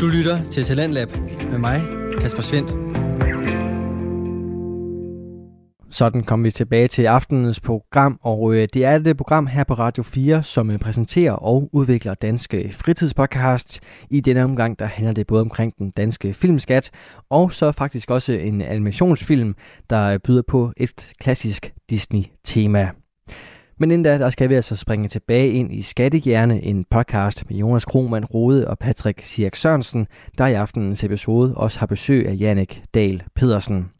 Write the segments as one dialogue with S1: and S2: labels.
S1: Du lytter til Talentlab med mig, Kasper Svendt. Sådan kom vi tilbage til aftenens program, og øh, det er et program her på Radio 4, som øh, præsenterer og udvikler danske fritidspodcasts. I denne omgang, der handler det både omkring den danske filmskat, og så faktisk også en animationsfilm, der øh, byder på et klassisk Disney-tema. Men inden da, der skal vi altså springe tilbage ind i Skattegjerne, en podcast med Jonas Krohmann Rode og Patrick Sirk Sørensen, der i aftenens episode også har besøg af Jannik Dahl Pedersen.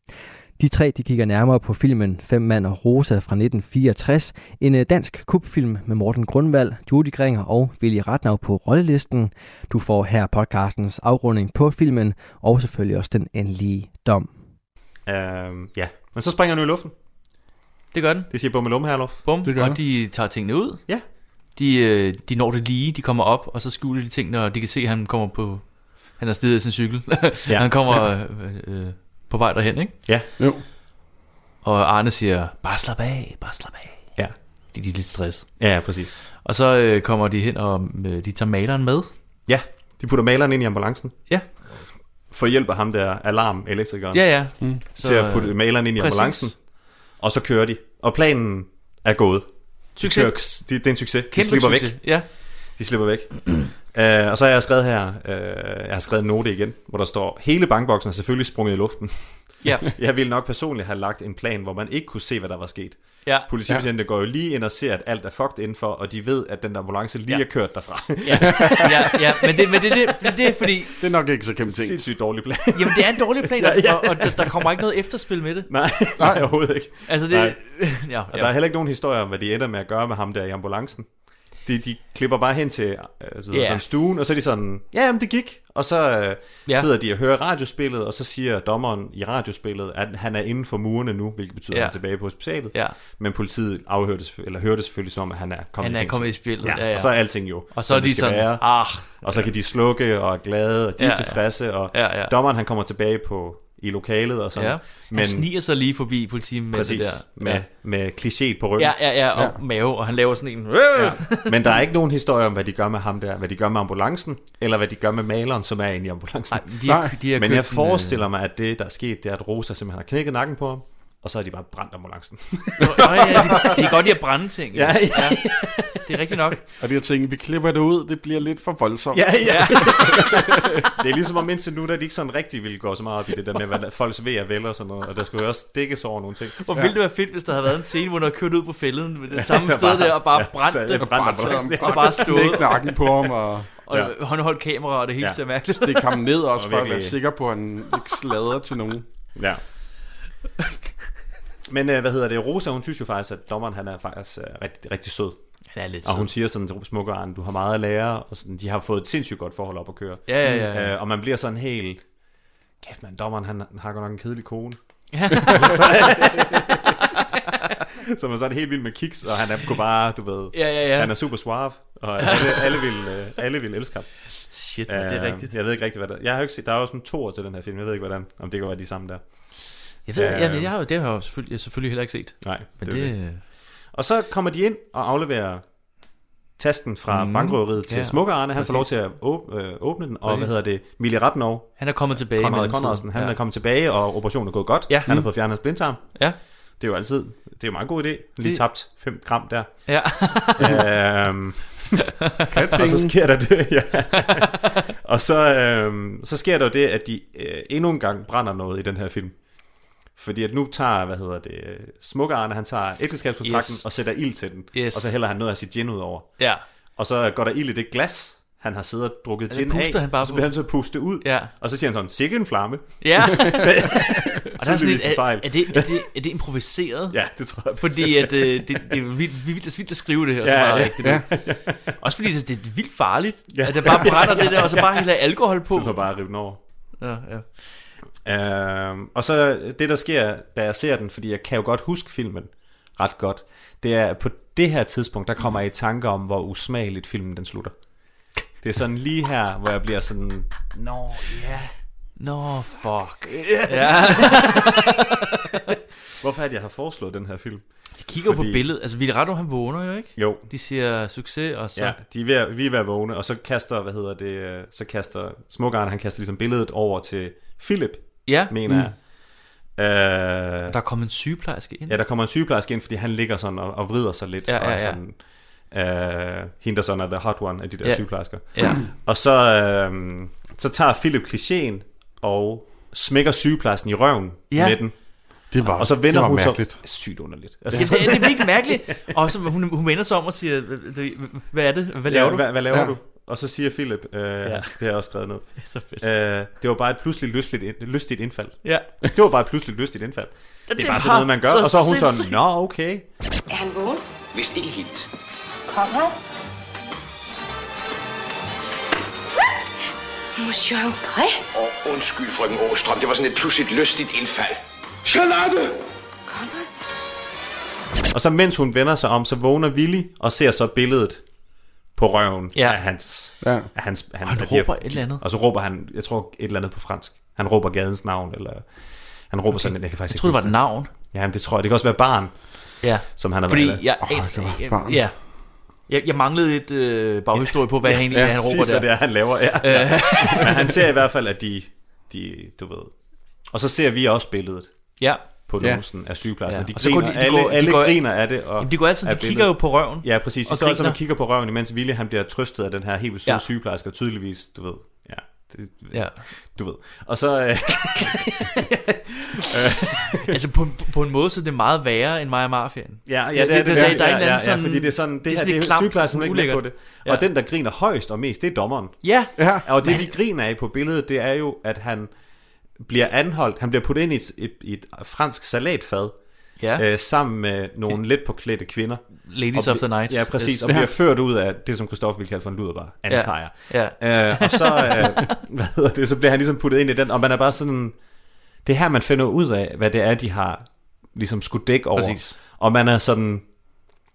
S1: De tre de kigger nærmere på filmen Fem mand og Rosa fra 1964, en øh, dansk kubfilm med Morten Grundvald, Judy Gringer og Willy Ratnav på rollelisten. Du får her podcastens afrunding på filmen, og selvfølgelig også den endelige dom.
S2: Øhm, ja, men så springer den jo i luften.
S3: Det gør den.
S2: Det siger Bummelum Herlof.
S3: Bum.
S4: Det gør
S3: og
S4: den.
S3: de tager tingene ud.
S2: Ja.
S3: De, øh, de når det lige, de kommer op, og så skjuler de ting, når de kan se, at han kommer på... Han er stedet af sin cykel. ja. Han kommer øh, øh, på vej derhen, ikke?
S4: Jo.
S3: Og Arne siger, bare slap af, bare slap af.
S2: Ja.
S3: De, de er lidt stress.
S2: Ja, præcis.
S3: Og så øh, kommer de hen, og øh, de tager maleren med.
S2: Ja, de putter maleren ind i ambulancen.
S3: Ja.
S2: For hjælp af ham der alarm-elektrikeren
S3: Ja, ja.
S4: Mm.
S2: til at putte maleren ind i
S3: øh, præcis.
S2: ambulancen. Og så kører de. Og planen er gået. De
S3: Succes.
S2: kører, de, det er en succes. de
S3: Kæmpe
S2: slipper væk.
S3: succes. Ja.
S2: De slipper væk. uh, og så har jeg skrevet her, uh, jeg har skrevet en note igen, hvor der står, hele bankboksen er selvfølgelig sprunget i luften.
S3: Ja.
S2: jeg ville nok personligt have lagt en plan, hvor man ikke kunne se, hvad der var sket.
S3: ja.
S2: Politibetjente ja. går jo lige ind og ser, at alt er fucked indenfor, og de ved, at den der ambulance lige
S3: Ja.
S2: ja. er kørt derfra.
S3: ja, ja, ja, men det, men det, det, det, det er fordi,
S4: Det er nok ikke så kæmpe ting.
S2: Sindssygt dårlig plan.
S3: jamen det er en dårlig plan,
S2: Ja, ja.
S3: og, og der- der kommer ikke noget efterspil med det.
S2: nej, nej, overhovedet ikke.
S3: Altså det,
S2: Nej.
S3: ja,
S2: Og ja. der er
S3: ja.
S2: heller ikke nogen historie om, hvad de ender med at gøre med ham der i ambulancen. De, de klipper bare hen til øh, så
S3: Ja.
S2: yeah. sådan stuen, og så er de sådan, ja, jamen, det gik. Og så øh,
S3: Ja.
S2: yeah. sidder de og hører radiospillet, og så siger dommeren i radiospillet, at han er inden for murene nu, hvilket betyder,
S3: Ja.
S2: yeah. at han er tilbage på hospitalet.
S3: ja.
S2: Men politiet afhørte, selvfø- eller hørte selvfølgelig som, at han er kommet
S3: Han
S2: i
S3: er
S2: fængsel.
S3: kommet i spillet.
S2: ja. Ja, ja. Og så er alting jo,
S3: og så er
S2: som det
S3: de
S2: skal
S3: sådan,
S2: være.
S3: ah,
S2: Og så kan de slukke og er glade, og de
S3: Ja,
S2: ja,
S3: ja.
S2: er tilfredse, og
S3: Ja, ja.
S2: dommeren han kommer tilbage på i lokalet og sådan.
S3: ja. Men, han sniger sig lige forbi politiet med
S2: præcis,
S3: det der.
S2: med, med kliché på ryggen.
S3: Ja, ja, ja, og ja. mave, og han laver sådan en... Øh! Ja.
S2: Ja. Men der er ikke nogen historie om, hvad de gør med ham der, hvad de gør med ambulancen, eller hvad de gør med maleren, som er inde i ambulancen.
S3: Ej, de har,
S4: Nej,
S3: de har
S2: Men
S3: købt
S2: jeg
S3: en, øh,
S2: forestiller mig, at det, der er sket, det er, at Rosa simpelthen har knækket nakken på ham, og så har de bare brændt ambulancen.
S3: Nå, nå, ja, det, det er godt, at brænde ting.
S2: Ja, ja.
S3: Det er rigtigt nok.
S4: Og det jeg tænker, vi klipper det ud, det bliver lidt for voldsomt.
S2: ja, ja. det er ligesom om indtil nu, der de ikke sådan rigtig ville gå så meget op i det der med, hvad folks ved er vel og sådan noget, og der skulle jo også dækkes over nogle ting.
S3: Hvor ville det være fedt, hvis der havde været en scene, hvor der kørt ud på fælden ved det samme sted
S2: bare-
S3: der, og bare
S2: ja,
S3: brændt
S2: så-
S3: det,
S4: Og
S2: Brænder
S4: bare
S2: på
S4: tager ham,
S2: listen.
S3: og bare stået,
S4: knække nakken på ham, og
S3: og
S2: Ja.
S3: håndholdt kamera, og det hele
S2: Ja.
S3: ser mærkeligt.
S4: stikke ham ned også,
S2: Og
S4: for at
S2: virkelig-
S4: være sikker på, at han ikke slader til nogen.
S2: Ja. Men øh, hvad hedder det? Rosa, hun synes jo faktisk, at dommeren han er faktisk øh, rigtig, rigtig sød.
S3: Han er lidt
S2: Og hun
S3: sød.
S2: siger sådan til smukke Arne, du har meget at lære, og sådan, de har fået et sindssygt godt forhold op at køre.
S3: Ja, ja, ja. ja.
S2: Øh, og man bliver sådan helt, kæft mand, dommeren han har godt nok en kedelig kone.
S3: Ja.
S2: Så man så er det helt vild med kiks, og han er, kunne bare, du ved,
S3: Ja, ja, ja.
S2: han er super suave, og alle, alle, vil, øh, alle vil elske ham.
S3: Shit, men det er
S2: Øh,
S3: rigtigt.
S2: Jeg ved ikke rigtigt, hvad der... Jeg har jo ikke set... Der er jo sådan to år til den her film. Jeg ved ikke, hvordan, om det kan være de samme der.
S3: Jeg ved,
S2: Øh,
S3: ja, men jeg har jo, det har jeg jo selvfølgelig, jeg selvfølgelig heller ikke set.
S2: Nej,
S3: Men
S2: er
S3: det, øh,
S2: jo
S3: det,
S2: Og så kommer de ind og afleverer tasten fra
S3: Mm.
S2: mm. bankrøveriet til
S3: Ja,
S2: ja. Smukker Arne. Han får lov
S3: præcis.
S2: til at åbne, øh, åbne den, og
S3: Præcis.
S2: hvad hedder det? Mille Ratnov,
S3: han er kommet tilbage. i
S2: Konrad
S3: mellemtiden.
S2: Konradsen, han
S3: ja.
S2: er kommet tilbage, og operationen er gået godt.
S3: Ja.
S2: Han
S3: Mm.
S2: har fået fjernet hans blindtarm.
S3: Ja.
S2: Det er jo altid, det er jo en meget god idé. Lige
S3: Det-
S2: tabt 5 gram der.
S3: Ja.
S2: øhm, og så sker der det, ja. og så, øhm, så sker der jo det, at de øh, endnu en gang brænder noget i den her film. Fordi at nu tager, hvad hedder det, Smukke Arne, han tager ægteskabskontrakten
S3: Yes.
S2: yes. og sætter ild til den.
S3: Yes.
S2: Og så hælder han noget af sit gin ud over.
S3: ja.
S2: Og så går der ild i det glas, han har siddet og drukket
S3: Ja, det
S2: gin af.
S3: Altså, puster han bare
S2: og så
S3: på.
S2: bliver han så pustet ud.
S3: Ja.
S2: Og så siger han sådan, sikke en flamme.
S3: Ja. og der er sådan
S2: Tydeligvis
S3: et,
S2: en
S3: er,
S2: fejl.
S3: er, det, er, det, er det improviseret?
S2: Ja, det tror jeg.
S3: Fordi at, øh, det, det er vildt, vildt, vildt at skrive det her, ja, så
S2: Ja,
S3: meget
S2: ja.
S3: rigtigt. Ja. Også fordi det, det er vildt farligt, ja.
S2: Ja.
S3: at der bare brænder det der, og så bare hælder alkohol på.
S2: Så får bare at rive den over.
S3: Ja, ja.
S2: Øhm, og så det, der sker, da jeg ser den, fordi jeg kan jo godt huske filmen ret godt, det er, at på det her tidspunkt, der kommer jeg i tanker om, hvor usmageligt filmen den slutter. Det er sådan lige her, hvor jeg bliver sådan, nå ja.
S3: Nå, fuck.
S2: Hvorfor er det, jeg har foreslået den her film?
S3: De kigger Fordi... på
S2: Fordi-
S3: billedet. Altså, Villarado, han vågner jo, ikke?
S2: Jo,
S3: De siger succes, og så...
S2: ja, de er ved, at- vi er ved at vågne, og så kaster, hvad hedder det, øh, så kaster smukkeren, han kaster ligesom billedet over til Philip,
S3: ja.
S2: mener mm. jeg. Øh,
S3: Der er kommet en sygeplejerske ind.
S2: Ja, der kommer en sygeplejerske ind, fordi han ligger sådan og, og vrider sig lidt.
S3: Ja, ja,
S2: Og er
S3: ja.
S2: sådan, øh, hende, der sådan er the hot one af de der
S3: Ja.
S2: ja. sygeplejersker.
S3: Ja.
S2: Og så, øh, så tager Philip klichéen og smækker sygeplejersken i røven
S3: Ja.
S2: ja. med den.
S4: Det var,
S2: Og så vender
S4: det var
S2: hun
S4: mærkeligt.
S2: så sygt underligt. Altså,
S3: Jamen, det, er- det er virkelig mærkeligt. Og så hun, hun vender sig om og siger, "Hva- hvad er det? Hvad laver du?
S2: Hvad, hvad laver
S4: Ja.
S2: ja. du? Og så siger Philip, øh, ja. det har jeg også skrevet ned,
S3: Det er så fedt.
S2: øh, det var bare et pludselig lystigt, ind- lystigt indfald.
S3: Ja.
S2: Det var bare et pludselig lystigt indfald. Det er bare sådan noget, man gør. og så er hun sådan, nå okay.
S5: Er han vågen?
S6: Vist ikke helt.
S5: Kom han? Monsieur André?
S6: Og undskyld, frøken Åstrøm, det var sådan et pludseligt lystigt indfald.
S5: Kom han?
S2: Og så mens hun vender sig om, så vågner Willy og ser så billedet på røven
S3: Ja.
S2: ja. af hans...
S4: Ja.
S2: Af hans han,
S3: han
S2: af de her-
S3: råber et eller andet.
S2: Og så råber han, jeg tror et eller andet på fransk. Han råber gadens navn, eller... Han råber okay. sådan, jeg kan faktisk
S3: Jeg troede, det
S2: ikke
S3: var et navn.
S2: det. Jamen, det tror jeg. Det kan også være barn,
S3: Ja.
S2: som han har
S3: Fordi
S2: været.
S3: jeg,
S4: Åh, det var et
S3: jeg-
S4: barn.
S3: ja. jeg, jeg manglede et øh, baghistorie på, hvad han egentlig er, han råber
S2: præcis,
S3: der.
S2: hvad det er, han laver. Ja. ja. Men han ser i hvert fald, at de, de... Du ved... Og så ser vi også billedet
S3: Ja.
S2: på
S4: Ja.
S2: numsen af sygeplejersken. Ja.
S3: Ja.
S2: De,
S3: Og så går
S2: griner,
S3: de- de
S2: alle,
S3: går- de
S2: alle
S3: går-
S2: griner af det. Og
S3: Jamen, de går altid,
S2: af
S3: de kigger
S2: billedet.
S3: jo på røven.
S2: Ja, præcis.
S3: Og
S2: De står altså
S3: griner.
S2: og kigger på røven, imens Ville han bliver trøstet af den her helt vildt søde
S3: Ja.
S2: ja. sygeplejerske, og tydeligvis, du ved, ja, det,
S3: ja.
S2: du ved. Og så, øh,
S3: Altså på, en- på en måde, så er det meget værre end mig og Mafiaen.
S2: ja, ja, det, er det,
S3: der-
S2: det,
S3: der er
S2: ja,
S3: en eller
S2: ja,
S3: anden
S2: ja,
S3: sådan-
S2: ja, fordi det er sådan, det,
S3: det er
S2: det her, det
S3: sådan lidt
S2: er
S3: klamt,
S2: sygeplejersken, hun er ikke med på
S3: ulækkert.
S2: det. Øh,
S3: Ja.
S2: Og den, der griner højst og mest, det er dommeren.
S3: Ja.
S4: Ja.
S2: Og det, de griner af på billedet, det er jo, at han bliver anholdt, han bliver puttet ind i et, et, et fransk salatfad,
S3: Ja.
S2: øh, sammen med nogle let påklædte kvinder.
S3: Ladies
S2: Og
S3: of the
S2: bli-
S3: Night.
S2: Ja, præcis, og bliver ført ud af det, som Christoffer ville kalde for en luderbar, antager jeg.
S3: Ja.
S2: Øh, og så, øh, hvad hedder det, så bliver han ligesom puttet ind i den, og man er bare sådan, det er her, man finder ud af, hvad det er, de har ligesom skulle dække over.
S3: Præcis.
S2: Og man er sådan,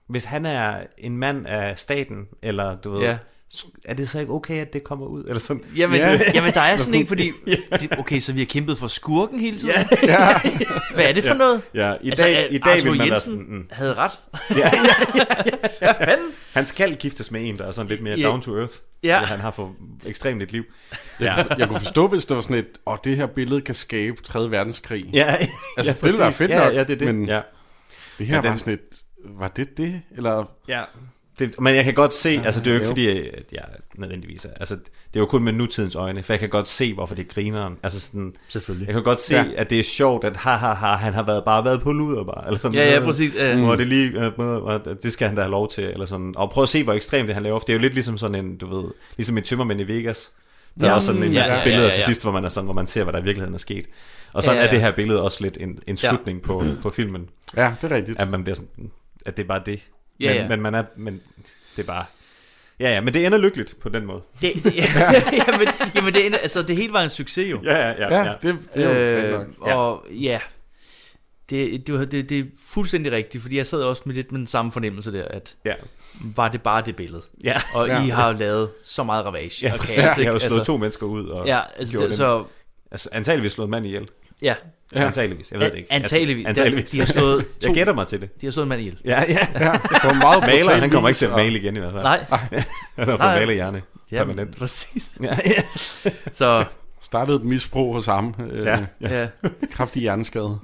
S2: hvis han er en mand af staten, eller du ved,
S3: Ja.
S2: ja. er det så ikke okay, at det kommer ud? Eller sådan.
S3: Jamen, øh,
S4: Ja.
S3: jamen, der er sådan en, fordi... det- Okay, så vi har kæmpet for skurken hele tiden.
S4: ja.
S3: Hvad er det for noget?
S2: Ja, i dag,
S3: øh,
S2: i dag
S3: Arthur
S2: vil man være
S3: Jensen
S2: sådan, mm,
S3: havde ret.
S2: ja, ja.
S3: Hvad fanden?
S2: han skal giftes med en, der er sådan lidt mere
S3: Ja.
S2: down to earth,
S3: Ja.
S2: ja. han har for ekstremt et liv.
S4: Jeg, kunne- jeg kunne forstå, hvis der var sådan et, og det her billede kan skabe 3. verdenskrig. Ja.
S2: Ja,
S4: Altså, det ville være
S2: præcis.
S4: fedt
S2: ja,
S4: nok,
S2: ja, det er det.
S4: men-
S2: ja.
S4: Det her
S2: Men den-
S4: var sådan et, var det det? Eller
S2: Ja. Det, men jeg kan godt se, altså det er jo ikke
S4: jo.
S2: fordi, at jeg nødvendigvis er, altså det er jo kun med nutidens øjne, for jeg kan godt se, hvorfor det er grineren. Altså sådan, jeg
S3: Selvfølgelig.
S2: kan godt se,
S4: Ja.
S2: ja. at det er sjovt, at ha, ha, ha, han har været, bare været på luder bare, eller sådan
S3: Ja, ja,
S2: noget.
S3: præcis. øh,
S2: Hvor det lige, øh, øh, øh, det skal han da have lov til, eller sådan. Og prøv at se, hvor ekstremt det han laver, for det er jo lidt ligesom sådan en, du ved, ligesom en tømmermænd i Vegas. Der er
S3: Ja,
S2: også sådan en
S3: ja,
S2: masse
S3: ja, ja,
S2: billeder
S3: ja, ja.
S2: til sidst, hvor man er sådan, hvor man ser, hvad der i virkeligheden er sket. Og sådan
S3: Ja,
S2: ja,
S3: ja,
S2: ja. er det
S3: ja.
S2: her billede også lidt en, en
S3: Ja.
S2: slutning på, på filmen
S4: ja, det er rigtigt.
S2: at man bliver sådan, at det er bare det.
S3: Ja,
S2: men,
S3: ja.
S2: men man er, men det er bare, ja, ja, men det ender lykkeligt på den måde.
S3: Det, det, jamen, jamen det, ender- altså, det hele var en succes jo.
S2: Ja, ja, ja.
S4: Ja,
S2: ja.
S4: det, det er jo øh, nok.
S3: øh, og ja, det, det, var- det, det er fuldstændig rigtigt, fordi jeg sad også med lidt med den samme fornemmelse der, at
S2: ja.
S3: var det bare det billede?
S2: ja.
S3: Og
S4: Ja.
S3: I har jo lavet så meget ravage.
S2: Ja,
S3: og
S2: præcis.
S3: kaos,
S2: Jeg
S3: ikke?
S2: har jo slået
S3: altså,
S2: to mennesker ud og
S3: Ja, altså,
S2: gjort
S3: det,
S2: det,
S3: så,
S2: altså, antageligvis slået en mand ihjel.
S3: ja,
S2: Ja. Antageligvis, jeg ved det ikke. Altså,
S3: antageligvis.
S2: antageligvis.
S3: De har slået to,
S2: Jeg gætter mig til det.
S3: de har slået en mand ihjel.
S2: Ja, ja.
S4: Ja, det var meget
S2: Maler,
S4: brutal
S2: han kommer
S4: vis,
S2: ikke til at
S4: og-
S2: male igen i hvert fald.
S3: Nej,
S2: Han har
S3: Nej.
S2: fået malerhjerne
S3: ja,
S2: Ah, permanent.
S3: præcis.
S2: Ja, ja.
S3: Så,
S4: Startede et misbrug hos ham. Øh,
S2: ja.
S4: ja.
S3: ja.
S4: Kraftig hjerneskade.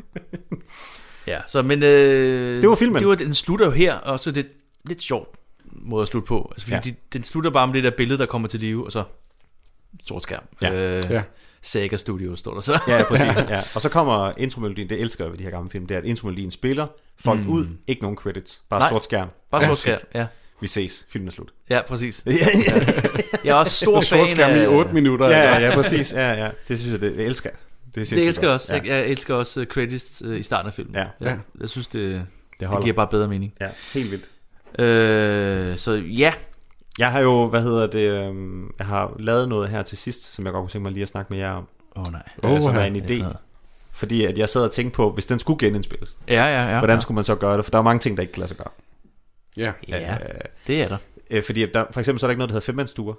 S3: Ja, så men... Øh,
S2: Det var filmen.
S3: Det var, den slutter jo her, og så er det lidt sjovt måde at slutte på. Altså, fordi ja. de, den slutter bare med det der billede, der kommer til live, og så sort skærm.
S2: Ja.
S3: Øh,
S4: Ja.
S3: Saga Studio står der så.
S2: Ja, præcis. Ja. Og så kommer intromelodien, det elsker jeg ved de her gamle film, det er, at intromelodien spiller folk mm. ud, ikke nogen credits, bare
S3: Nej.
S2: sort skærm.
S3: Bare sort skærm, ja.
S2: Vi ses, filmen er slut.
S3: Ja, præcis.
S2: Ja, ja.
S3: Jeg er også stor
S4: Sort
S3: fan
S4: skærm
S3: af...
S4: i 8 minutter.
S2: Ja,
S4: eller-
S2: ja, ja, præcis. Ja, ja. Det synes jeg, det, det elsker. jeg. Det, er
S3: Det
S2: sindssygt
S3: elsker jeg
S2: godt.
S3: også.
S2: Ja.
S3: Jeg, jeg elsker også øh, credits øh, i starten af filmen.
S2: Ja.
S3: Jeg, jeg synes, det,
S2: Det
S3: det
S2: holder.
S3: giver bare bedre mening.
S2: Ja, helt vildt.
S3: Øh, så ja,
S2: Jeg har jo, hvad hedder det, øhm, jeg har lavet noget her til sidst, som jeg godt kunne tænke mig lige at snakke med jer om,
S3: åh oh, nej.
S2: oh, øh, som
S4: Oha.
S2: er en idé. Fordi at jeg sad og tænkte på, hvis den skulle genindspilles,
S3: Ja, ja, ja.
S2: hvordan skulle man så gøre det? For der er mange ting, der ikke kan lade sig gøre.
S4: ja.
S3: Ja,
S2: Øh,
S3: det er der.
S2: øh, fordi at der, for eksempel så er der ikke noget, der hedder femmandsstuer.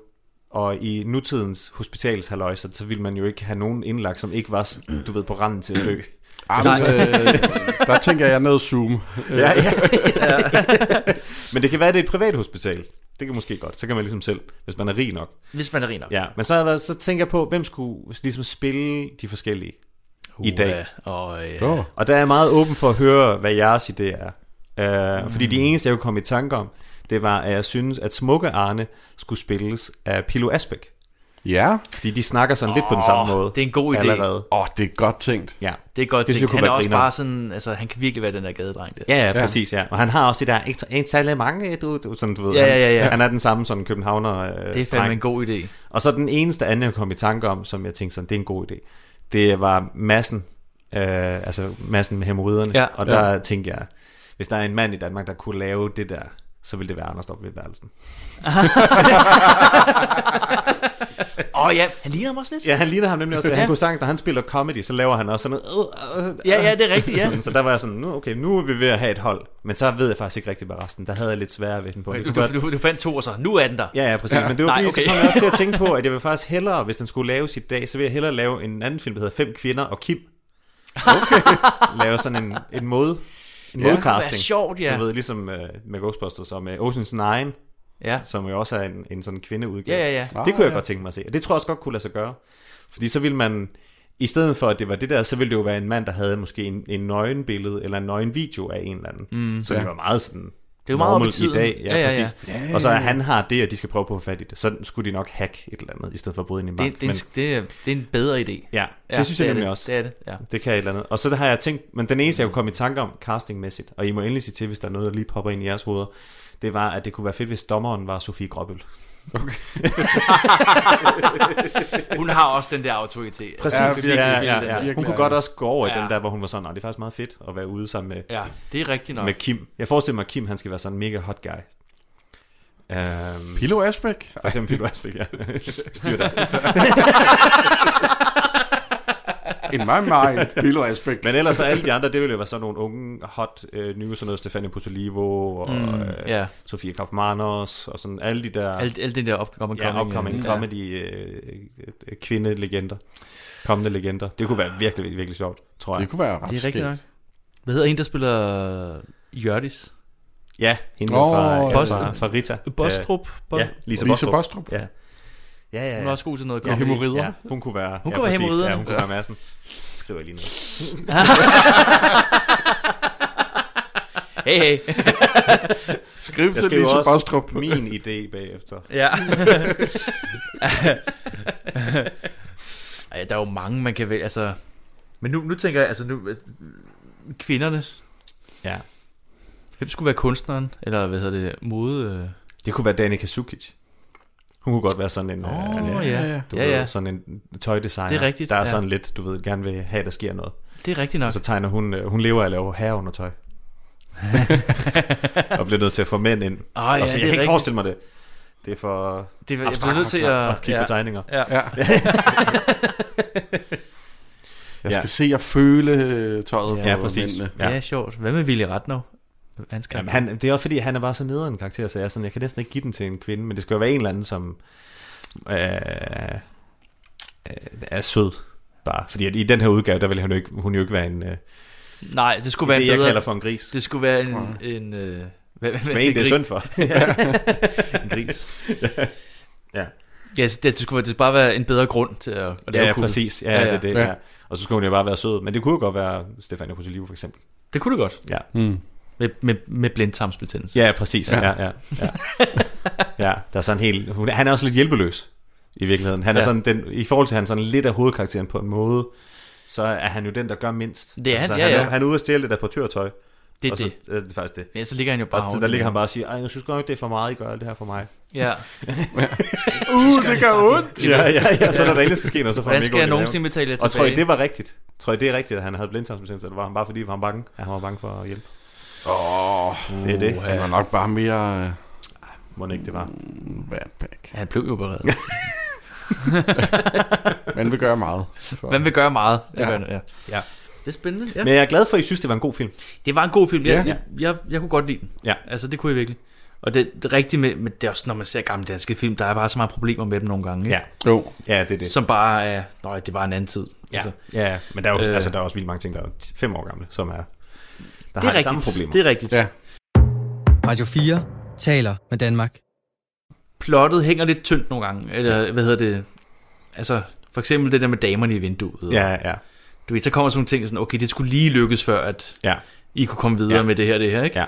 S2: Og i nutidens hospitalshaløjser, så ville man jo ikke have nogen indlagt, som ikke var, s- du ved, på randen til at dø.
S4: Ah, men, øh, der tænker jeg noget Zoom.
S2: ja, ja, ja. Men det kan være, at det er et privat hospital. Det kan måske godt. Så kan man ligesom selv, hvis man er rig nok.
S3: Hvis man er rig nok.
S2: Ja, men så, har jeg været- så tænker jeg på, hvem skulle ligesom spille de forskellige i dag.
S3: Og, øh,
S4: Oh.
S2: Og der er jeg meget åben for at høre, hvad jeres idéer er. Uh, mm. Fordi de eneste, jeg kunne komme i tanke om, det var, at jeg synes, at Smukke Arne skulle spilles af Pilo Asbæk.
S4: Ja.
S2: Fordi de snakker sådan oh, lidt på den samme måde.
S3: det er en god idé.
S2: Allerede.
S4: Åh, oh, det er godt tænkt.
S2: Ja.
S3: Det er godt
S2: Det synes jeg
S3: tænkt.
S2: kunne
S3: Han er
S2: være
S3: også
S2: grineren.
S3: bare sådan, altså han kan virkelig være den der gadedreng der.
S2: Ja, ja, præcis, ja. Og han har også det der, ikke, ikke særlig mange, øh, du, du, sådan, du ved.
S3: Ja,
S2: han,
S3: ja, ja.
S2: Han er den samme sådan københavner øh,
S3: Det er fandme
S2: dreng.
S3: en god idé.
S2: Og så den eneste anden, jeg kom i tanke om, som jeg tænkte sådan, det er en god idé, det var massen, øh, altså massen med hemorriderne.
S3: Ja.
S2: og der ja. tænkte jeg, hvis der er en mand i Danmark, der kunne lave det der, så ville det være Anders Stop ved værelsen.
S3: Åh oh, ja, han ligner ham også lidt.
S2: Ja, han ligner ham nemlig også, ja.
S3: Ja.
S2: han kunne sagtens, når han spiller comedy, så laver han også sådan noget. Øh, øh, øh,
S3: Ja, ja, det er rigtigt, ja.
S2: Sådan, Så der var jeg sådan, nu, okay, nu er vi ved at have et hold. Men så ved jeg faktisk ikke rigtig, hvad resten. Der havde jeg lidt sværere ved den på. Det
S3: Du,
S2: kunne godt-
S3: du, du, du fandt to, og så nu er den der.
S2: Ja, ja, præcis. Ja. Men det var
S3: Nej,
S2: fordi, Nej, okay.
S3: okay.
S2: så kom jeg også til at tænke på, at jeg vil faktisk hellere, hvis den skulle laves i dag, så vil jeg hellere lave en anden film, der hedder Fem Kvinder og Kim. Okay. lave sådan en, en måde. En ja,
S3: Det er
S2: modcasting.
S3: sjovt, ja.
S2: Du ved, ligesom øh, med Ghostbusters og med Ocean's 9,
S3: Ja.
S2: som jo også er en, en sådan kvindeudgave.
S3: Ja, ja, ja.
S2: Det kunne jeg godt tænke mig at se. Og det tror jeg også godt kunne lade sig gøre. Fordi så ville man, i stedet for at det var det der, så ville det jo være en mand, der havde måske en, en nøgenbillede eller en nøgen video af en eller anden. Mm, så det var meget sådan...
S3: Det er jo meget op i
S2: normal
S3: tiden.
S2: i dag, ja, ja,
S3: Ja, ja,
S2: ja, præcis. Ja. Og så er han har det, og de skal prøve på at få fat i det. Så skulle de nok hacke et eller andet, i stedet for at bryde ind i
S3: Det,
S2: magt.
S3: er- det, er en, det, er, det er en bedre idé.
S2: ja, det
S3: Ja,
S2: synes jeg
S3: er
S2: nemlig
S3: det.
S2: også.
S3: Det er det, ja.
S2: Det kan et eller andet. Og så har jeg tænkt, men den eneste, jeg kunne komme i tanke om castingmæssigt, og I må endelig sige til, hvis der er noget, der lige popper ind i jeres hoveder, det var, at det kunne være fedt, hvis dommeren var Sofie Gråbøl.
S3: Hun har også den der autoritet.
S2: Præcis.
S4: Ja,
S2: Ja, ja,
S3: virkelig,
S2: ja, ja.
S4: virkelig.
S2: Hun kunne godt også gå over i
S3: Ja.
S2: den der, hvor hun var sådan, nej, det er faktisk meget fedt at være ude sammen med,
S3: Ja, det er rigtigt nok.
S2: med Kim. Jeg forestiller mig, at Kim han skal være sådan en mega hot guy. Øhm,
S4: Pilo Asbæk. Altså,
S2: for eksempel Peter Asbæk, ja. Styr dig.
S4: In my mind, Pilo Asbæk.
S2: Men ellers så alle de andre, det ville jo være sådan nogle unge, hot, øh, nye, sådan noget Stefanie Potolivo og mm, øh,
S3: ja.
S2: Sofie Kaufmanos og sådan alle de der
S3: Alt, alt det der opkommende
S2: ja, upcoming comedy øh, øh, kvindelegender, kommende legender. Det kunne være virkelig, virkelig, virkelig sjovt, tror
S4: Det
S2: jeg.
S4: kunne være ret
S3: Det er rigtigt nok.
S4: skægt.
S3: Hvad hedder en, der spiller Jørdis?
S2: Ja, hende
S4: Åh,
S2: oh, fra, øh,
S3: Bostrup.
S2: fra, fra Rita.
S3: Bostrup?
S2: Øh,
S3: Bo-
S2: ja, Lise,
S4: Lise
S2: Bostrup.
S4: Bostrup.
S2: Ja. Ja, ja, ja.
S3: Hun er også god til noget
S4: Ja,
S3: comedy.
S4: hemorrider.
S2: Ja, hun kunne være...
S3: Hun
S2: ja,
S3: kunne være
S2: præcis.
S3: hæmorrideren.
S2: Ja, hun kunne være massen. Skriver jeg lige noget.
S3: Hey, hey.
S4: Skriv
S2: Jeg
S4: til
S2: skriver
S4: Lise
S2: også
S4: Bostrup.
S2: min idé bagefter.
S3: Ja. Ej, der er jo mange, man kan vælge. Altså, men nu, nu tænker jeg, altså
S2: øh,
S3: nu, at kvinderne.
S2: Ja.
S3: Hvem skulle være kunstneren? Eller hvad hedder det? Mode? øh?
S2: Det kunne være Danica Sukic. Hun kunne godt være sådan en...
S3: Åh,
S2: øh,
S3: ja, ja.
S2: Du
S3: ja,
S2: ved,
S3: ja.
S2: sådan en tøjdesigner.
S3: Det er rigtigt,
S2: Der er
S3: ja.
S2: sådan lidt, du ved, gerne vil have, at der sker noget.
S3: Det er rigtigt nok.
S2: Og så tegner hun... øh, Hun lever af at lave herreundertøj. og bliver nødt til at få mænd ind.
S3: Åh, Ah, ja,
S2: og så,
S3: det
S2: altså, jeg kan
S3: er
S2: ikke
S3: rigtigt.
S2: forestille mig det. Det er for
S3: Det, jeg bliver
S2: abstrakt
S3: nødt til at...
S2: at kigge på tegninger.
S3: ja. ja.
S4: Jeg
S2: Ja.
S4: skal se og føle øh, tøjet
S2: Ja,
S4: på
S2: præcis.
S4: mændene.
S3: Ja. Det er sjovt. Hvad med Willy Ratner? Hans
S2: Jamen,
S3: karakter.
S2: han, det er også fordi, han er bare så nederen en karakter, så jeg, er sådan, jeg kan næsten ikke give den til en kvinde, men det skal jo være en eller anden, som øh, øh, er sød. Bare. Fordi at i den her udgave, der vil han jo ikke, hun jo ikke være en, øh,
S3: Nej, det skulle være
S2: det,
S3: en
S2: jeg
S3: bedre...
S2: kalder for en gris.
S3: Det skulle være en... en øh, hvad, hvad,
S2: Men en, det er
S3: gris-
S2: synd for.
S3: En gris.
S2: Ja.
S3: Ja, så det, det skulle være- det skulle bare være en bedre grund til at, at
S2: ja,
S3: lave
S2: ja,
S3: cool.
S2: præcis. Ja,
S3: Ja,
S2: ja,
S3: ja.
S2: Det, er det,
S4: Ja.
S2: ja. Og så skulle hun jo bare være sød. Men det kunne jo godt være Stefania Potolivo for eksempel.
S3: Det kunne det godt.
S2: Ja,
S4: Hmm.
S3: Med, med, med blindtarmsbetændelse.
S2: ja præcis. Ja. Ja, ja, ja. ja, der er sådan helt... Hun, han er også lidt hjælpeløs i virkeligheden. Han er
S3: Ja.
S2: ja. sådan den, I forhold til, at han sådan lidt af hovedkarakteren på en måde, så er han jo den, der gør mindst. Altså,
S3: er han, ja,
S2: han,
S3: ja.
S2: Er, han er ude og stjæle det der portørtøj.
S3: Det er
S2: og så,
S3: det.
S2: øh, det er faktisk det.
S3: Men så ligger han jo bare
S2: Og så der ligger han bare og siger, Ej, jeg synes godt nok, det er for meget, I gør alt det her for mig.
S3: Ja.
S4: Uh, det gør ondt!
S2: Ja, ja, ja. Så når der endelig skal ske noget, så får
S3: Hvordan
S2: han ikke ondt
S3: skal jeg
S2: i maven.
S3: nogensinde betale jer
S2: Og tror I,
S3: tilbage?
S2: det var rigtigt? Tror I, det er rigtigt, at han havde blindtarmsbetændelse, eller var han bare fordi, var han bange? At han var bange for at hjælpe?
S4: Åh,
S2: Det er det.
S4: han var nok bare mere øh,
S2: Må det ikke det var.
S4: vandpack.
S3: Han blev jo opereret.
S4: Man vil gøre meget. for-
S3: Man vil gøre meget. Det,
S4: Ja.
S3: gør han, ja.
S2: Ja.
S3: det er spændende. Ja.
S2: Men jeg er glad for, at I synes, det var en god film.
S3: Det var en god film. Jeg,
S4: Ja.
S3: jeg, jeg, jeg kunne godt lide den.
S2: Ja.
S3: Altså, det kunne jeg virkelig. Og det, det er rigtigt, med, men det er også, når man ser gamle danske film, der er bare så mange problemer med dem nogle gange. Ikke?
S2: Ja,
S4: Jo.
S2: ja det er det.
S3: Som bare er, nej, det var en anden tid.
S2: Ja,
S3: Altså,
S2: ja, men der er, jo,
S3: Øh.
S2: øh, altså, der er også vildt mange ting, der er t- fem år gamle, som er, der har
S3: det er
S2: de
S3: rigtigt.
S2: samme problemer.
S3: Det er rigtigt.
S4: Ja.
S1: Radio 4 taler med Danmark.
S3: Plottet hænger lidt tyndt nogle gange, eller hvad hedder det? Altså, for eksempel det der med damerne i vinduet.
S2: Ja, ja,
S3: Du ved, så kommer sådan nogle ting, sådan, okay, det skulle lige lykkes før, at
S2: ja.
S3: I kunne komme videre ja.
S2: Ja.
S3: med det her, det her, ikke?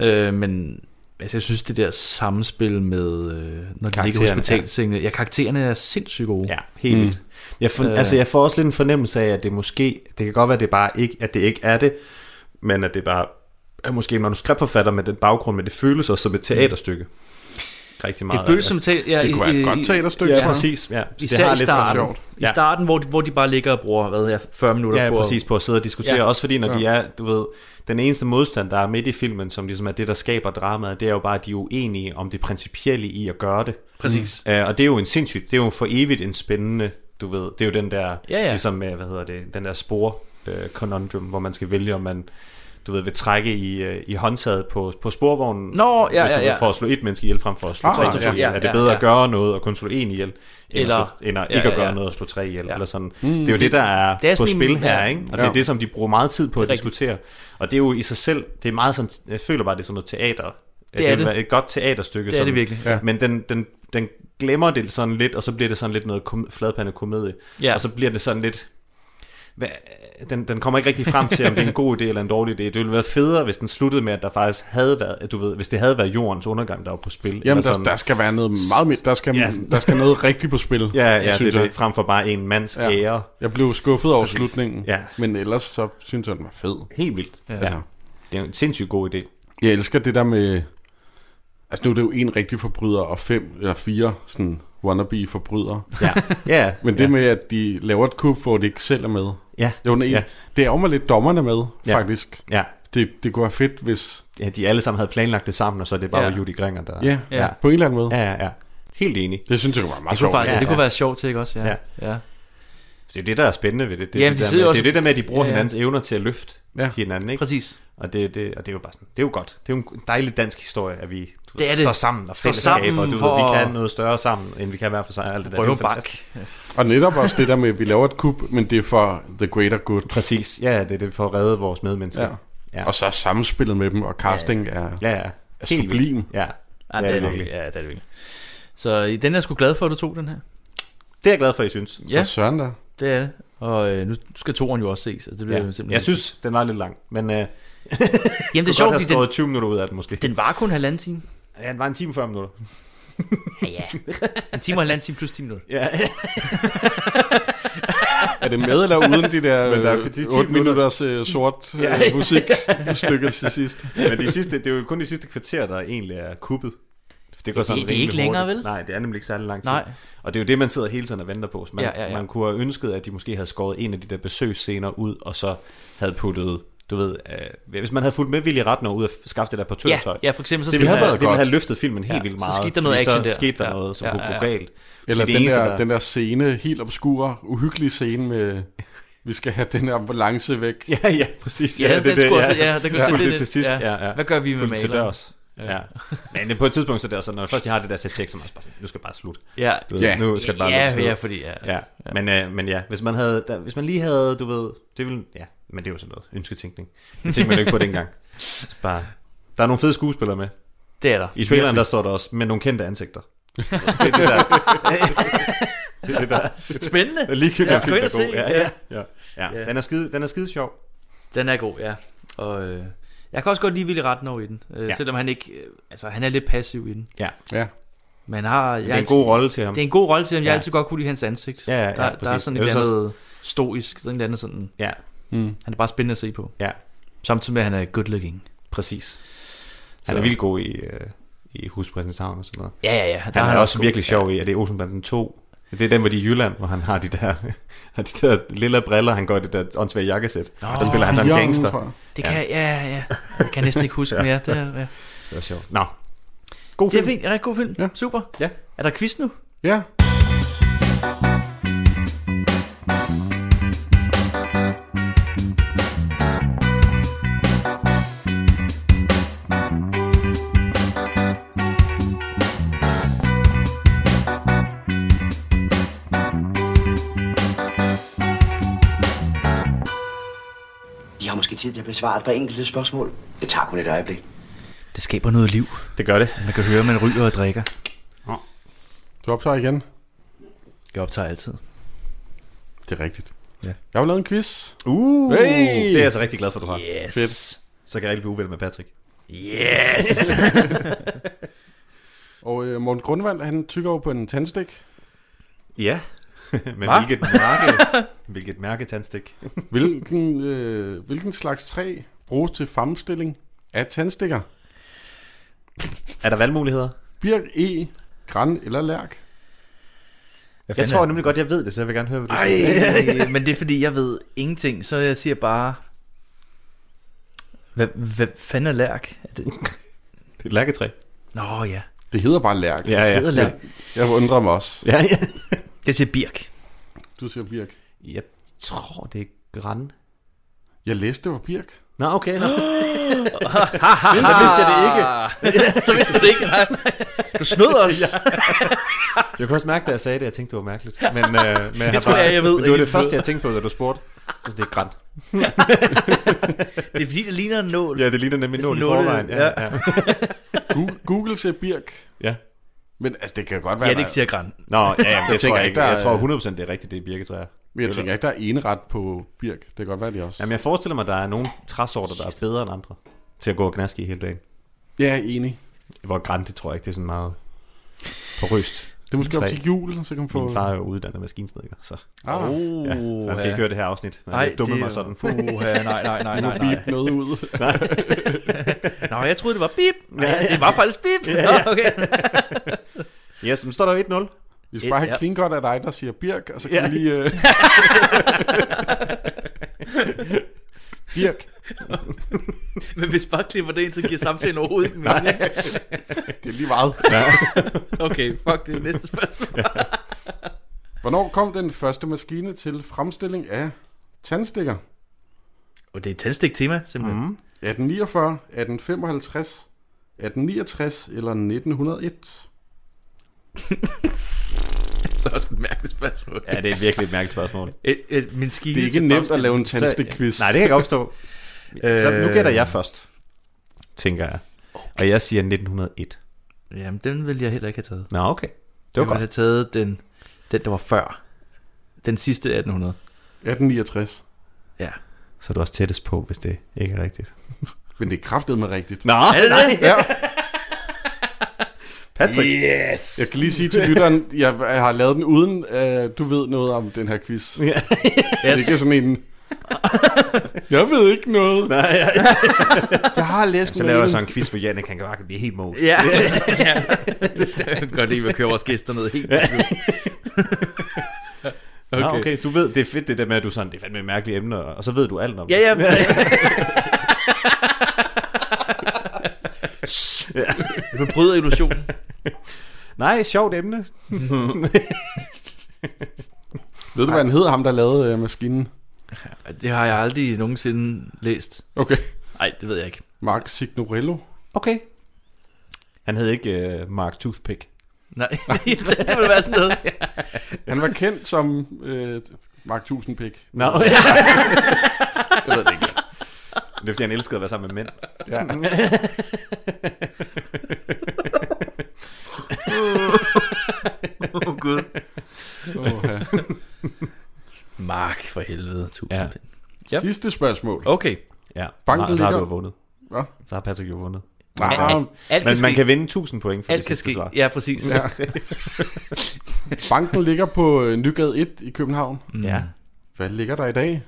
S2: Ja.
S3: Øh, men altså, jeg synes, det der samspil med, øh, når de ligger i
S2: Karaktererne,
S3: hospitalsengene, ja. ja, karaktererne er sindssygt gode.
S2: Ja, helt vildt. Jeg, for,
S3: Øh.
S2: altså, jeg får også lidt en fornemmelse af, at det måske, det kan godt være, at det bare ikke, at det ikke er det, men at det bare er måske en manuskriptforfatter med den baggrund, men det føles også som et teaterstykke. Rigtig meget.
S3: Mm. Det føles som
S2: altså,
S3: tal, ja,
S4: Det kunne være et godt teaterstykke.
S2: Ja,
S3: Ja.
S2: præcis. Ja. Så
S3: Især i starten,
S4: sjovt.
S3: i starten hvor, de, hvor de bare ligger og bruger hvad er, 40 minutter
S2: Ja,
S3: på
S2: præcis på at sidde og diskutere.
S3: Ja.
S2: Ja. Også fordi, når ja. de er, du ved, den eneste modstand, der er midt i filmen, som ligesom er det, der skaber dramaet, det er jo bare, at de er uenige om det principielle i at gøre det.
S3: Præcis.
S2: Mm. Øh, og det er jo en sindssygt, det er jo for evigt en spændende, du ved, det er jo den der,
S3: Ja, ja.
S2: ligesom, øh, hvad hedder det, den der spor øh, conundrum, hvor man skal vælge, om man du ved, vil trække i, øh, i håndtaget på, på sporvognen,
S3: Nå, ja,
S2: hvis du
S3: ja,
S2: ved,
S3: ja.
S2: for at slå et menneske ihjel frem for at slå
S4: Ah,
S2: tre
S4: ja,
S2: ihjel.
S3: ja,
S2: er det
S3: ja,
S2: bedre
S3: ja.
S2: at gøre noget og kun slå en ihjel, end,
S3: Eller-
S2: at, slå, end at
S3: ja,
S2: ikke at
S3: ja,
S2: gøre
S3: ja.
S2: noget og slå tre ihjel?
S3: Ja.
S2: Eller sådan. Mm, det er jo det, der er,
S3: det er
S2: er på
S3: sådan en-
S2: spil her,
S3: ja.
S2: ikke? Og det er
S4: Ja.
S2: det, som de bruger meget tid på at
S3: Det er rigtigt.
S2: diskutere. Og det er jo i sig selv, det er meget sådan, jeg føler bare, det er sådan noget teater.
S3: er
S2: vil
S3: det.
S2: være Et godt teaterstykke.
S3: Det er det
S2: sådan.
S3: virkelig.
S4: Ja.
S2: Men den, den, den glemmer det sådan lidt, og så bliver det sådan lidt noget kom- fladpande komedie.
S3: Ja.
S2: Og så bliver det sådan lidt... Hvad, den, den kommer ikke rigtig frem til, om det er en god idé eller en dårlig idé. Det ville være federe, hvis den sluttede med, at der faktisk havde været, at du ved, hvis det havde været jordens undergang, der var på spil. eller
S4: Jamen, der,
S2: sådan.
S4: der skal være noget meget mere. Der skal,
S2: Ja.
S4: der skal noget rigtigt på spil.
S2: ja, ja,
S4: synes
S2: det er
S4: jeg.
S2: det, frem for bare en mands ja. ære.
S4: Jeg blev skuffet over slutningen,
S2: Ja.
S4: men ellers så synes jeg, den var fed.
S2: Helt vildt. Ja. Altså, det er jo en sindssygt god idé.
S4: Jeg elsker det der med... Altså nu er det jo en rigtig forbryder og fem eller fire sådan wannabe-forbrydere.
S2: Ja, ja.
S4: Men det
S2: ja.
S4: med, at de laver et kub, hvor de ikke selv er med.
S2: Ja.
S4: Det er, en,
S2: Ja.
S4: ja. det er jo mig lidt dommerne med,
S2: Ja.
S4: ja. faktisk.
S2: Ja.
S4: Det, det kunne være fedt, hvis...
S2: ja, de alle sammen havde planlagt det sammen, og så er det bare
S3: Ja.
S2: ja. Judy Gringer, der...
S4: Ja,
S3: Ja.
S4: ja. på en eller anden måde. Ja.
S2: ja, ja, ja. Helt enig.
S4: Det synes jeg kunne være meget
S3: Det kunne,
S4: sjovt.
S3: faktisk, ja,
S2: ja.
S3: det kunne være sjovt til, ikke også? Ja.
S2: Ja.
S3: ja.
S2: Det er jo det, der er spændende ved det. Det, er
S3: Jamen, de
S2: det, der,
S3: sidder
S2: med,
S3: også-
S2: det er det der med, at de bruger
S3: Ja,
S2: ja, ja.
S3: ja.
S2: hinandens evner til at løfte
S4: Ja.
S2: ja. hinanden, ikke?
S3: Præcis.
S2: Og det, det, og det er jo bare sådan, det er jo godt. Det er jo en dejlig dansk historie, at vi du
S3: Det er
S2: ved,
S3: det.
S2: står sammen og
S3: Står
S2: fællesskaber,
S3: sammen
S2: og du
S3: for
S2: ved, vi
S3: at-
S2: kan noget større sammen, end vi kan hver for sig. Alt det der.
S3: Prøv
S2: det er jo fantastisk.
S4: Og netop også det der med, at vi laver et kub, men det er for the greater good.
S2: Præcis. Ja, det er det for at redde vores medmennesker.
S4: Ja.
S2: Ja,
S4: Ja. Og så er samspillet med dem, og casting ja. er...
S2: ja. ja.
S4: Er
S2: Helt vildt.
S4: sublim.
S2: Ja,
S3: Ja, det er det virkelig. Ja, det er det virkelig. Så øh, den er jeg sgu glad for, at du tog den her.
S2: Det er jeg glad for, I synes.
S3: Ja,
S4: Ja. Søren der.
S3: det er det. Og øh, nu skal toren jo også ses. Altså, det bliver jo
S2: Ja.
S3: simpelthen...
S2: Jeg synes, den var lidt lang, men øh, det
S3: Jamen,
S2: er
S3: det er
S2: godt
S3: sjovt,
S2: have
S3: fordi den,
S2: skåret 20 minutter ud af den måske.
S3: den var kun halvanden time.
S2: Ja, den var en time og 40 minutter.
S3: Ja, ja. En time og halvanden time plus 10 minutter.
S2: Ja,
S4: Er det med eller uden de der,
S2: Men der er
S4: øh,
S2: de ti
S4: 8
S2: minutter.
S4: minutters øh, sort øh,
S2: Ja.
S4: musikstykke til sidst?
S2: men de sidste, det er jo kun de sidste kvarter, der egentlig er kuppet. For Det, går
S3: Det-
S2: sådan
S3: det er ikke
S2: rimelig
S3: længere,
S2: hurtigt.
S3: vel?
S2: Nej, det er nemlig ikke særlig lang tid.
S3: Nej.
S2: Og det er jo det, man sidder hele tiden og venter på. Så Man,
S3: Ja, ja, ja.
S2: man kunne have ønsket, at de måske havde skåret en af de der besøgsscener ud, og så havde puttet, du ved, øh, hvis man havde fulgt med Willy Ratner ud og skaffe det der
S3: Ja,
S2: portørtøj.
S3: ja, for eksempel så
S2: Det
S3: skal
S2: ville,
S3: man-
S2: have,
S4: været
S2: det ville
S4: godt.
S2: have løftet filmen helt
S3: Ja,
S2: ja, vildt
S3: så
S2: meget.
S3: skete der noget
S2: fordi
S3: action der.
S2: så skete der
S3: Ja,
S2: noget, som
S3: ja,
S2: kunne
S3: ja,
S2: gå
S3: ja.
S2: galt.
S4: Eller
S2: Fordi
S4: den,
S2: eneste,
S4: der, den der scene, helt obskur, uhyggelig scene med, vi skal have den her ambulance væk.
S2: Ja, ja, præcis.
S3: Ja, den skulle også- ja, den kunne sætte
S2: Fulgte
S3: lidt-
S2: til sidst.
S3: ja.
S2: Ja, ja.
S3: Hvad gør vi med
S2: Fulgte til
S3: maleren?
S2: dørs. Ja. Men på et tidspunkt, så er det også sådan, når først de har det der sæt tekst, så er man også bare sådan, nu skal det bare slutte.
S3: Ja,
S2: Du ved,
S4: Ja.
S2: Nu skal det bare
S3: ja,
S2: lukkes ned.
S3: ja, fordi... Ja.
S2: Ja, men, øh, men ja, hvis man, havde, der, hvis man lige havde, du ved, det ville, ja, men det er jo sådan noget ønsketænkning. Det tænkte man jo ikke på dengang. Så Bare, der er nogle fede skuespillere med.
S3: Det er der.
S2: I traileren der står der også, med nogle kendte ansigter. Det er det der, det er det der
S3: Spændende.
S2: ligegyldigt
S3: Ja,
S2: ja, film,
S3: gå ind
S2: der
S3: og
S2: er god.
S3: se.
S2: Ja, ja, ja. ja. Den, er skide, den er skide sjov.
S3: Den er god, ja. Og øh, jeg kan også godt lide Willy Ratner i den. Øh, ja.
S2: Ja.
S3: Selvom han ikke... Øh, altså, han er lidt passiv i den.
S2: Ja,
S4: Ja.
S3: Men har... Jeg
S2: det er en god rolle til ham.
S3: Det er en god rolle til ham. Jeg har
S2: Ja.
S3: altid godt kunne lide hans ansigt.
S2: Ja, ja, ja,
S3: der, der er
S2: præcis.
S3: sådan
S2: Jeg
S3: et
S2: synes
S3: eller andet stoisk, sådan et eller andet sådan...
S2: Ja,
S3: Han er bare spændende at se på.
S2: ja,
S3: Samtidig med, at han er good looking.
S2: præcis.
S3: Så-
S2: Han er vildt god i, øh, i Huspræsens Havn og sådan noget.
S3: Ja, ja, ja. Der
S2: Han er,
S3: han
S2: også
S3: god.
S2: virkelig sjov i, at det er Olsenbanden 2. Det er den, hvor de er i Jylland, hvor han har de der, har de der lille briller, han går i det der åndssvage jakkesæt. Nå, der spiller han sådan en
S4: Fjern
S2: gangster.
S4: fra-
S3: Det kan, ja, ja, ja. Jeg kan næsten ikke huske mere. Det er, ja.
S2: Det er sjovt. Nå. God
S3: det er
S2: film.
S3: fint. Rigtig god film. Ja.
S4: Ja.
S3: Super.
S2: Ja.
S3: Er der quiz nu?
S4: Ja.
S6: til tid til at besvare et par enkelte spørgsmål. Det tager kun et øjeblik.
S3: Det skaber noget liv.
S2: Det gør det.
S3: Man kan høre, man ryger og drikker.
S4: Du optager igen.
S3: Jeg optager altid.
S4: Det er rigtigt.
S3: Ja.
S4: Jeg har jo lavet en quiz.
S2: Uh,
S4: Hey!
S2: Det er jeg altså rigtig glad for, du har.
S3: Yes.
S2: Fedt. Så kan jeg ikke blive uvel med Patrick.
S3: Yes!
S4: Og øh, Morten Grundvald, han tykker over på en tandstik.
S2: Ja. Men hvilket mærke, hvilket mærke tandstik.
S4: Hvilken, øh, hvilken slags træ bruges til fremstilling af tandstikker?
S2: Er der valgmuligheder?
S4: Birk, E, græn eller lærk?
S2: Jeg tror nemlig godt, jeg ved det, så jeg vil gerne høre, hvad du siger.
S3: Ej, Øh, men det er fordi, jeg ved ingenting, så jeg siger bare... Hvad, hvad fanden er lærk? Er det...
S2: Det er et lærketræ.
S3: Nå ja,
S4: Det hedder bare lærk.
S2: Ja,
S3: det hedder
S2: ja.
S3: lærk.
S4: Jeg undrer mig også.
S2: Ja, ja.
S3: Jeg siger birk.
S4: Du siger Birk.
S2: Jeg tror, det er græn.
S4: Jeg læste, det var Birk.
S2: Nå, okay. Nå. så vidste jeg det ikke.
S3: så vidste du det ikke. Nej, nej. Du snød os.
S2: Jeg kunne også mærke, da jeg sagde det, jeg tænkte, det var mærkeligt. Men, øh, men
S3: jeg tror jeg, jeg ved.
S2: Men det var det
S3: Jeg
S2: første,
S3: ved.
S2: jeg tænkte på, da du spurgte. Så det er grænt.
S3: Det er fordi, det ligner en nål.
S2: Ja, det ligner nemlig
S3: Det er
S2: nål i
S3: sådan nåle,
S2: forvejen. Ja,
S3: ja.
S2: ja.
S4: Gu- Google siger Birk.
S2: ja.
S4: Men altså, det kan godt være,
S3: Ja, det
S4: der-
S3: ikke siger græn.
S2: Nå, ja, jamen, jeg,
S4: tror
S2: tror
S4: ikke,
S2: ikke,
S4: der er-
S2: jeg tror 100% det er rigtigt, det er birketræer.
S4: men jeg tænker ikke, der er eneret på Birk. Det kan godt være, det også.
S2: Jamen, jeg forestiller mig, at der er nogle træsorter, der er bedre end andre til at gå og gnaske i hele dagen.
S4: jeg er enig.
S2: Hvor grænt, det tror jeg ikke, det er sådan meget porøst.
S4: Det er måske
S2: Tre.
S4: op til jul, så kan man få...
S2: Min far er jo uddannet maskinsnedker, så,
S3: Uh,
S4: Ah, oh,
S2: ja, så han skal ikke høre det her afsnit. Nej, jeg dumme mig sådan.
S3: Uh, nej, nej, nej, nej, nej.
S4: bip noget ud.
S3: Nå, jeg troede, det var bip. Nej, det var faktisk bip. Ja, ja. Nå, okay.
S2: Yes, men står der jo 1-0.
S4: Vi skal bare have
S3: Ja.
S4: clean godt af dig, der siger Birk, og så kan vi lige... Uh... Birk.
S3: Men hvis bare klipper det ind, så giver samtalen overhovedet ikke mening.
S4: Det er lige meget.
S3: Okay, fuck, det er næste spørgsmål.
S4: Hvornår kom den første maskine til fremstilling af tandstikker?
S3: Og det er et tændstik tema, simpelthen.
S2: Mhm.
S3: Mm.
S4: 1849, 1855, 1869 eller 1901?
S3: Så er det også et mærkeligt spørgsmål.
S2: Ja, det er virkelig et mærkeligt spørgsmål.
S3: Et, et, min skine
S4: Det er ikke
S3: til
S4: nemt at lave en
S2: Så-
S4: tandstik-quiz.
S2: Nej, det kan jeg godt forstå. Så nu
S3: Øh.
S2: gætter jeg først, tænker jeg. Og jeg siger 1901.
S3: fremstilling. Jamen, den ville jeg heller ikke have taget.
S2: Nå, okay. Det
S3: Jeg
S2: var
S3: ville have
S2: godt.
S3: taget den, den, der var før. Den sidste 1800.
S4: 1869.
S3: Ja.
S2: Så er du også tættest på, hvis det ikke er rigtigt.
S4: Men det er kraftet med rigtigt.
S2: Nå,
S3: Er det det?
S4: Ja,
S2: Patrick.
S4: jeg kan lige sige til lytteren, jeg jeg har lavet den uden, uh, du ved noget om den her quiz. Yes. Det er
S3: Yes.
S4: ikke sådan en... Jeg ved ikke noget. Nej, jeg... jeg har læst
S2: Så laver jeg så en quiz for Jannik, han kan bare blive helt mos.
S3: Ja. ja. Jeg kan godt lide at køre vores gæster noget helt.
S2: Okay. Nå, okay, du ved, det er fedt det der med, at du sådan, det er fandme mærkelige emner, og så ved du alt om
S3: Ja,
S2: det.
S3: ja. Du bryder illusionen.
S2: Nej, sjovt emne.
S4: Ved du, hvad han hedder, ham der lavede øh, maskinen?
S3: Det har jeg aldrig nogensinde læst.
S4: Okay.
S3: Nej, det ved jeg ikke.
S4: Mark Signorello.
S2: Okay. Han hed ikke uh, Mark Toothpick.
S3: Nej, det ville være sådan noget.
S4: Han var kendt som øh, Mark Tusindpik.
S2: Nå, no. jeg ved det ikke. Det er fordi, han elskede at være sammen med mænd.
S4: Ja.
S3: Åh, oh, Gud.
S4: Oh, ja.
S3: Mark, for helvede. Tusind
S2: Ja.
S3: ja.
S4: Yep. Sidste spørgsmål.
S3: Okay.
S2: Ja,
S4: Banken
S2: så, så har
S4: ligger-
S2: du jo vundet.
S4: Hvad?
S2: Så har Patrick jo vundet.
S4: Ah,
S3: Alt
S2: Men
S3: kan
S2: man
S3: ske.
S2: kan vinde 1000 point for
S3: Alt
S2: det
S3: kan
S2: sidste
S3: ske.
S2: svar.
S3: Ja, præcis.
S4: Ja. banken ligger på øh, Nygade 1 i København.
S3: Mm.
S2: Ja.
S4: Hvad ligger der i dag?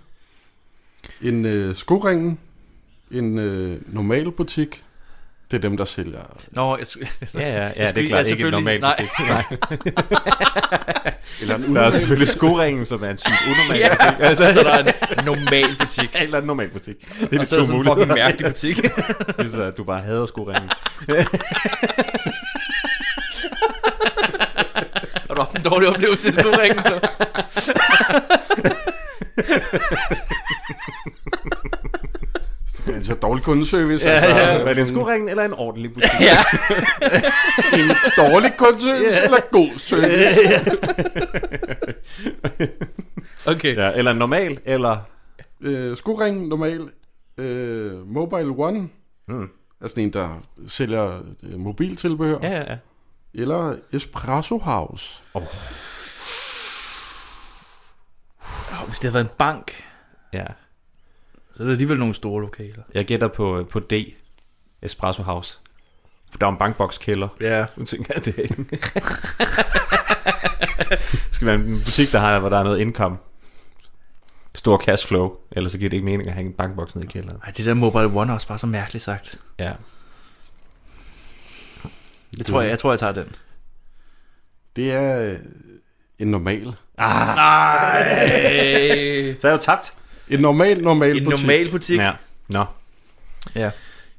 S4: En øh, skoringen. En øh, normal butik. Det er dem, der sælger.
S3: Nå, jeg skulle...
S2: Ja, ja, ja, det
S3: Skulle-
S2: er klart
S3: ja,
S2: ikke en
S3: selvfølgelig.
S2: normal
S3: Nej.
S2: butik. Nej.
S4: Eller
S2: Der er
S4: en
S2: altså-
S4: udenom-
S2: selvfølgelig skoringen, som er en sygt unormal butik. Altså,
S3: Så der er en normal butik.
S2: eller en normal butik. Det er
S3: Og
S2: de
S3: så er
S2: to
S3: det sådan en fucking
S2: muligheder.
S3: mærkelig butik.
S2: Hvis øh, du bare hader skoringen.
S3: Har du haft en dårlig oplevelse i skoringen?
S4: Det er en så dårlig kundeservice.
S2: Ja,
S4: altså.
S2: ja. Er det en skoringen eller en ordentlig butik?
S3: ja.
S4: En dårlig kundeservice yeah. eller god service?
S3: Okay.
S2: Ja, eller en normal, eller...
S4: øh, skoringen normal, Øh, Mobile One
S2: Mm.
S4: er sådan en, der sælger øh, mobiltilbehør.
S2: Ja, ja, ja.
S4: Eller Espresso House.
S3: Oh, hvis det havde været en bank,
S2: ja.
S3: så er det alligevel nogle store lokaler.
S2: Jeg gætter på, på D. Espresso House. For der er en bankbokskælder.
S3: Ja.
S2: Nu tænker jeg, det er ikke. det skal være en butik, der har, hvor der er noget income. Stor cashflow. Ellers så giver det ikke mening at hænge en bankboks ned i kælderen.
S3: Ej, det der Mobile One er også bare så mærkeligt sagt.
S2: Ja.
S3: Det tror jeg, jeg tror, jeg tager den.
S4: Det er øh, en normal.
S3: Hey.
S2: Ah. Så er jeg jo tabt.
S4: En normal, normal
S3: Øh, En
S4: butik.
S3: normal butik.
S2: Ja. Nå.
S3: Ja.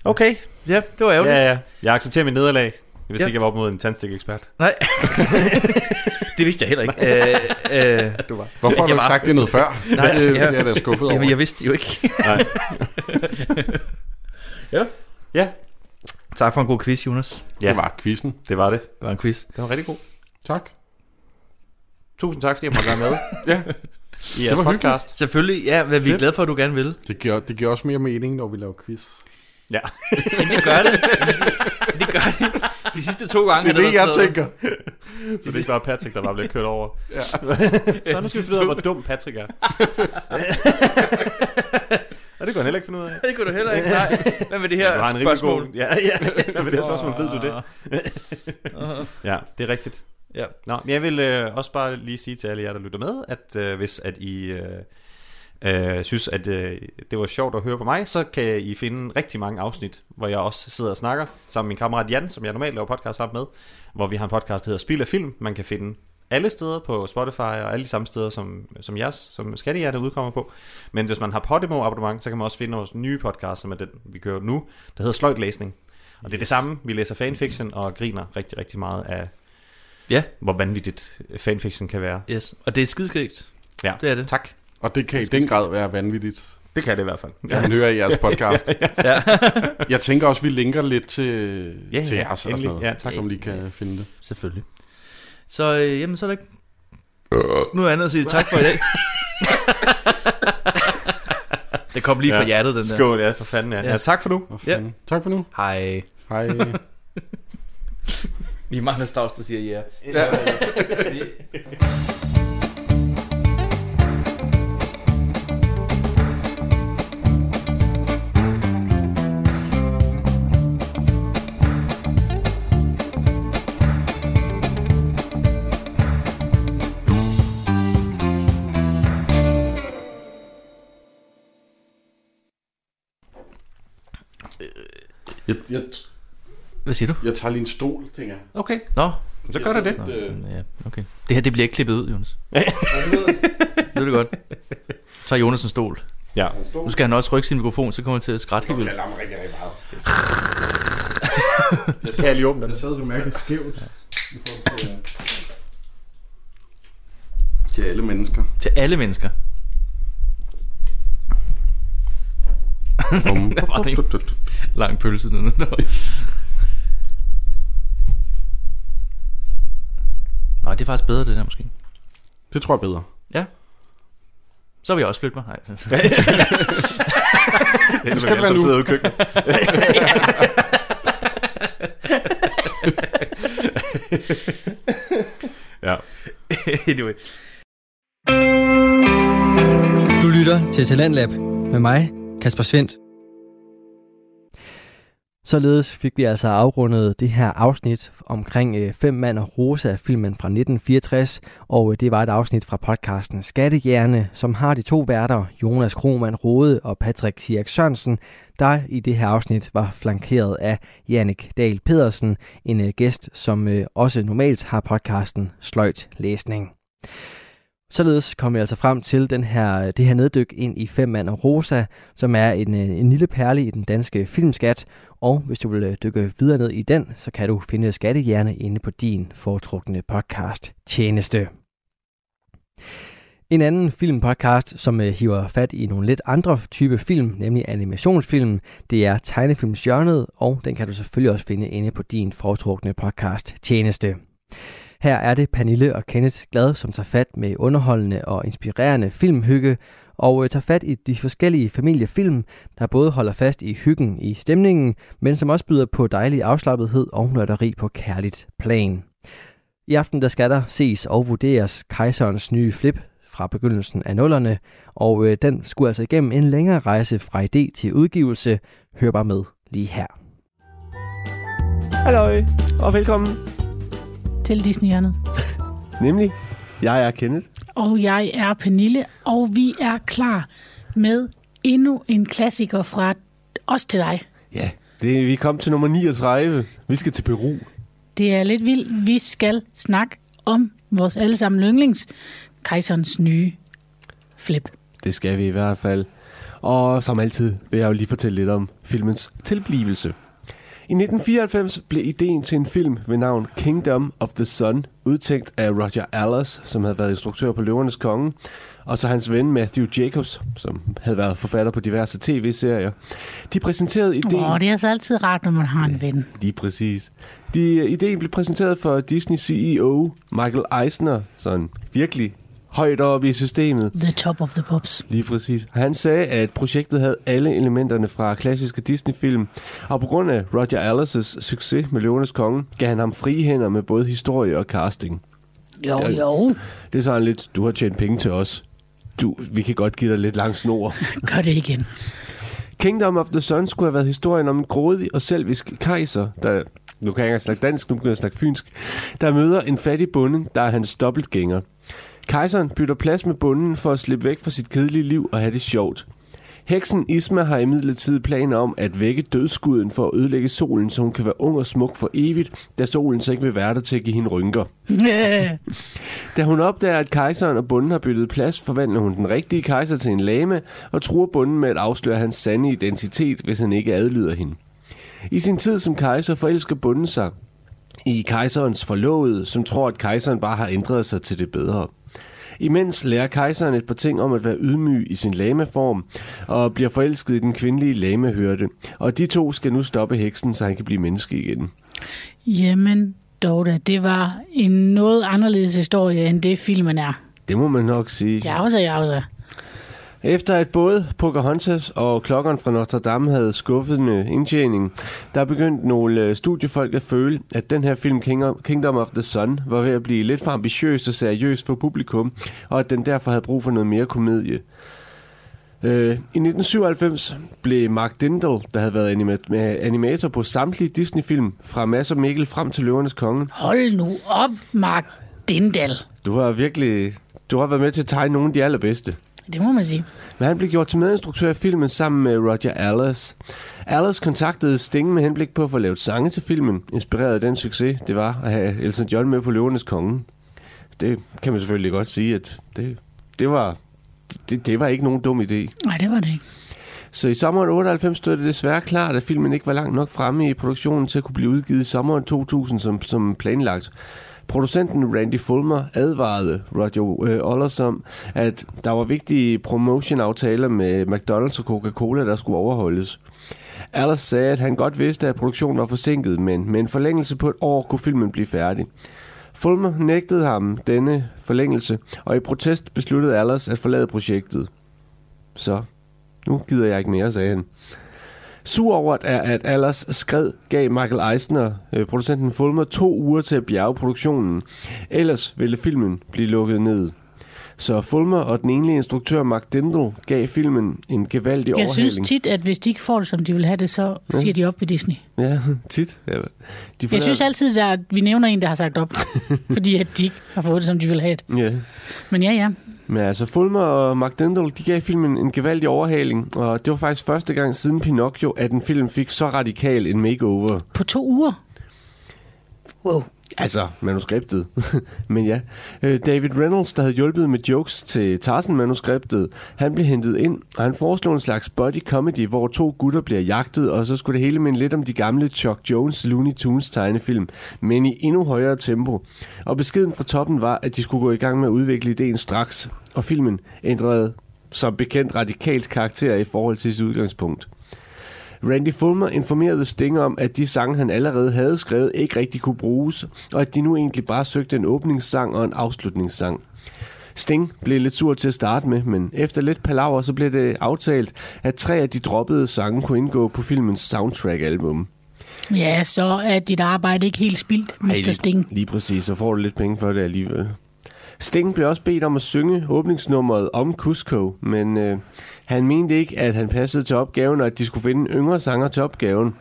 S2: Okay.
S3: ja, det var ærgerligt.
S2: Ja, ja. Jeg accepterer mit nederlag. Hvis
S3: Ja.
S2: ja. ikke jeg var op mod en tandstik-ekspert.
S3: Nej, det vidste jeg heller ikke. Øh, øh,
S2: Du var.
S4: Hvorfor har du
S3: Jeg
S4: ikke
S3: var-
S4: sagt det noget før?
S3: Nej,
S4: det,
S3: ja.
S4: det er jeg da skuffet over.
S3: jeg, jeg vidste det jo ikke.
S2: Nej. Ja,
S3: tak for en god quiz, Jonas.
S4: Det var quizzen.
S2: det var det.
S3: Det var en quiz.
S2: Det var rigtig god.
S4: Tak.
S2: Tusind tak, fordi jeg måtte være med i
S4: Ja,
S2: jeres
S4: var hyggeligt.
S2: podcast.
S3: Selvfølgelig, ja, hvad vi er
S4: Fedt.
S3: glade for, at du gerne vil.
S4: det giver, det giver også mere mening, når vi laver quiz.
S2: Ja.
S3: Det gør det. Det gør det. De sidste to gange
S4: Det er det, jeg tænker.
S2: Så det er ikke bare Patrick, der bare bliver kørt over.
S4: Ja.
S2: Så nu skal vi finde ud af, hvor dum Patrick er. Og det kunne han heller ikke finde ud af.
S3: Det kunne du heller ikke. Nej. Hvad med det
S2: Du har en
S3: her
S2: rigtig
S3: spørgsmål?
S2: God... Ja, ja. Hvad med det her spørgsmål ved du det? Ja, det er rigtigt.
S3: Ja.
S2: Nå, men jeg vil øh, også bare lige sige til alle jer, der lytter med, at øh, hvis at I øh, øh, synes, at øh, det var sjovt at høre på mig, så kan I finde rigtig mange afsnit, hvor jeg også sidder og snakker sammen med min kammerat Jan, som jeg normalt laver podcast sammen med, hvor vi har en podcast, der hedder Spil af Film. Man kan finde alle steder på Spotify og alle de samme steder som, som jeres, som Skattehjerte udkommer på. Men hvis man har Podimo abonnement, så kan man også finde vores nye podcast, som er den, vi kører nu, der hedder Sløjtlæsning. Og det er det samme. Vi læser fanfiction og griner rigtig, rigtig meget af
S3: Ja,
S2: hvor vanvittigt fanfiction kan være.
S3: yes. Og det er skidskægt.
S2: Ja,
S3: Det er det.
S2: Tak.
S4: Og det kan i den grad være vanvittigt,
S2: Det kan det i hvert fald.
S4: at man hører i jeres podcast.
S3: Ja.
S4: Jeg tænker også, vi linker lidt til,
S2: Ja,
S4: til
S2: ja,
S4: jeres eller
S2: endelig.
S4: sådan noget,
S2: Ja, tak.
S4: som lige kan finde det.
S3: Selvfølgelig. Så øh, jamen, så er der ikke
S4: Øh.
S3: noget andet at sige tak for i dag. det kom lige fra
S2: Ja.
S3: hjertet, den der.
S2: Skål, ja, for fanden. Ja.
S3: Yes.
S2: Ja, tak for nu.
S4: Hvor
S3: Ja.
S4: fanden. Mm. Tak for nu.
S3: Hej.
S4: Hej.
S3: Vi er mange stavs, der siger ja. ja.
S4: Jeg, jeg,
S3: Hvad siger du?
S4: jeg tager lige en stol, tænker jeg.
S2: Okay,
S3: Nå,
S2: så gør du det.
S4: Lidt, øh,
S3: ja, okay. Det her, det bliver ikke klippet ud, Jonas. Ved du godt. Så tager Jonas en stol.
S2: Ja.
S3: Nu skal han også rykke sin mikrofon, så kommer han til at skrætte helt vildt.
S4: larmer rigtig, rigtig meget.
S2: Kan jeg lige åbne den?
S4: Jeg sad så mærkeligt skævt. i forhold til, øh, Til alle mennesker.
S3: Til alle mennesker. Der var sådan en lang pølse nede. Nå, det er faktisk bedre, det der måske.
S4: Det tror jeg bedre.
S3: Ja. Så vil jeg også flytte mig. Nej.
S2: Det
S4: skal
S2: skal
S4: det være
S2: være
S4: nu.
S2: sidder ude i køkkenet. ja.
S3: anyway.
S1: Du lytter til Talentlab med mig, Kasper Svendt. Således fik vi altså afrundet det her afsnit omkring øh, Fem mand og Rosa, filmen fra 1964, og øh, det var et afsnit fra podcasten Skattehjerne, som har de to værter, Jonas Krohmann Rode og Patrick Sierk Sørensen, der i det her afsnit var flankeret af Jannik Dahl Pedersen, en øh, gæst, som øh, også normalt har podcasten Sløjt Læsning. Således kom jeg altså frem til den her, det her neddyk ind i Fem Mand og Rosa, som er en, øh, en lille perle i den danske filmskat. Og hvis du vil øh, dykke videre ned i den, så kan du finde Skattehjerne inde på din foretrukne podcast Tjeneste. En anden filmpodcast, som øh, hiver fat i nogle lidt andre type film, nemlig animationsfilm, det er Tegnefilmshjørnet, og den kan du selvfølgelig også finde inde på din foretrukne podcast Tjeneste. Her er det Pernille og Kenneth Glad, som tager fat med underholdende og inspirerende filmhygge, og øh, tager fat i de forskellige familiefilm, der både holder fast i hyggen i stemningen, men som også byder på dejlig afslappethed og nørderi på kærligt plan. I aften der skal der ses og vurderes kejserens nye flip fra begyndelsen af nullerne, og øh, den skulle altså igennem en længere rejse fra idé til udgivelse. Hør bare med lige her.
S7: Halløj, og velkommen.
S8: til Disneyhjørnet.
S7: Nemlig, jeg er Kenneth.
S8: Og jeg er Pernille, og vi er klar med endnu en klassiker fra os til dig.
S7: Ja. Det, vi kom til nummer 39. Vi skal til Peru.
S8: Det er lidt vildt. Vi skal snakke om vores allesammen yndlings, kejserens nye flip.
S7: Det skal vi i hvert fald. Og som altid vil jeg jo lige fortælle lidt om filmens tilblivelse. I 1994 blev ideen til en film ved navn Kingdom of the Sun udtænkt af Roger Allers, som havde været instruktør på Løvernes Konge, og så hans ven Matthew Jacobs, som havde været forfatter på diverse tv-serier. De præsenterede ideen...
S8: Åh, det er altså altid rart, når man har en ven.
S7: Lige præcis. De, ideen blev præsenteret for Disney CEO Michael Eisner, sådan virkelig højt oppe i systemet.
S8: The top of the pops.
S7: Lige præcis. Han sagde, at projektet havde alle elementerne fra klassiske Disney-film, og på grund af Roger Allers' succes med Løvenes Konge, gav han ham frie hænder med både historie og casting.
S8: Jo,
S7: Det er-
S8: jo,
S7: Det er sådan lidt, du har tjent penge til os. Du, vi kan godt give dig lidt lang snor.
S8: gør det igen.
S7: Kingdom of the Sun skulle have været historien om en grådig og selvisk kejser, der... Nu kan jeg ikke engang snakke dansk, nu begynder jeg at snakke fynsk. Der møder en fattig bonde, der er hans dobbeltgænger. Kejseren bytter plads med bonden for at slippe væk fra sit kedelige liv og have det sjovt. Heksen Isma har imidlertid planer om at vække dødskuden for at ødelægge solen, så hun kan være ung og smuk for evigt, da solen så ikke vil være der til at give hende rynker.
S8: Øh,
S7: Da hun opdager, at kejseren og bunden har byttet plads, forvandler hun den rigtige kejser til en lame og truer bunden med at afsløre hans sande identitet, hvis han ikke adlyder hende. I sin tid som kejser forelsker bunden sig i kejserens forlovede, som tror, at kejseren bare har ændret sig til det bedre. Imens lærer kejseren et par ting om at være ydmyg i sin lamaform, og bliver forelsket i den kvindelige lamahørte, og de to skal nu stoppe heksen, så han kan blive menneske igen.
S8: jamen, Dorte, det var en noget anderledes historie, end det filmen er.
S7: Det må man nok sige.
S8: Jausa, jausa.
S7: Efter at både Pocahontas og klokkeren fra Notre Dame havde skuffende indtjening, der begyndte nogle øh, studiefolk at føle, at den her film King- Kingdom of the Sun var ved at blive lidt for ambitiøs og seriøs for publikum, og at den derfor havde brug for noget mere komedie. Øh, I 1997 blev Mark Dindal, der havde været anima- øh, animator på samtlige Disney-film, fra Mads og Mikkel frem til Løvernes Konge.
S8: Hold nu op, Mark Dindal.
S7: Du har virkelig... Du har været med til at tegne nogle af de allerbedste.
S8: Det må man sige.
S7: Men han blev gjort til medinstruktør af filmen sammen med Roger Allers. Allers kontaktede Sting med henblik på at få lavet sange til filmen, inspireret af den succes, det var at have Elton John med på Løvernes Konge. Det kan man selvfølgelig godt sige, at det, det, var, det, det var ikke nogen dum idé.
S8: Nej, det var det ikke.
S7: Så i sommeren 98 stod det desværre klart, at filmen ikke var langt nok fremme i produktionen til at kunne blive udgivet i sommeren 2000 som, som planlagt. Producenten Randy Fulmer advarede Roger øh, Ollers om, at der var vigtige promotion-aftaler med McDonald's og Coca-Cola, der skulle overholdes. Allers sagde, at han godt vidste, at produktionen var forsinket, men med en forlængelse på et år kunne filmen blive færdig. Fulmer nægtede ham denne forlængelse, og i protest besluttede Allers at forlade projektet. Så nu gider jeg ikke mere, sagde han. Sur over, at, at Allers skred gav Michael Eisner, øh, producenten Fulmer, to uger til at bjerge produktionen. Ellers ville filmen blive lukket ned. Så Fulmer og den enlige instruktør Mark Dindal gav filmen en gevaldig
S8: Jeg
S7: overhaling. Mm.
S8: synes tit, at hvis de ikke får det, som de vil have det, så siger de op ved Disney.
S7: Ja, tit. Ja. De
S8: Jeg synes altid, at vi nævner en, der har sagt op, fordi at de ikke har fået det, som de vil have det.
S7: Ja.
S8: Men ja, ja.
S7: Men altså, Fulmer og Mark Dendal, de gav filmen en gevaldig overhaling, og det var faktisk første gang siden Pinocchio, at en film fik så radikal en makeover.
S8: På to uger. Wow.
S7: Altså, manuskriptet. Men ja, Øh, David Reynolds, der havde hjulpet med jokes til Tarzan-manuskriptet, han blev hentet ind, og han foreslog en slags buddy comedy, hvor to gutter bliver jagtet, og så skulle det hele minde lidt om de gamle Chuck Jones Looney Tunes tegnefilm, men i endnu højere tempo. Og beskeden fra toppen var, at de skulle gå i gang med at udvikle ideen straks, og filmen ændrede som bekendt radikalt karakter i forhold til sit udgangspunkt. Randy Fulmer informerede Sting om, at de sange, han allerede havde skrevet, ikke rigtig kunne bruges, og at de nu egentlig bare søgte en åbningssang og en afslutningssang. Sting blev lidt sur til at starte med, men efter lidt palaver, så blev det aftalt, at tre af de droppede sange kunne indgå på filmens soundtrack-album.
S8: Ja, så er dit arbejde ikke helt spildt, Mr. Sting.
S7: Lige præcis, så får du lidt penge for det alligevel. Sting blev også bedt om at synge åbningsnummeret om Cusco, men øh, han mente ikke, at han passede til opgaven, og at de skulle finde en yngre sanger til opgaven.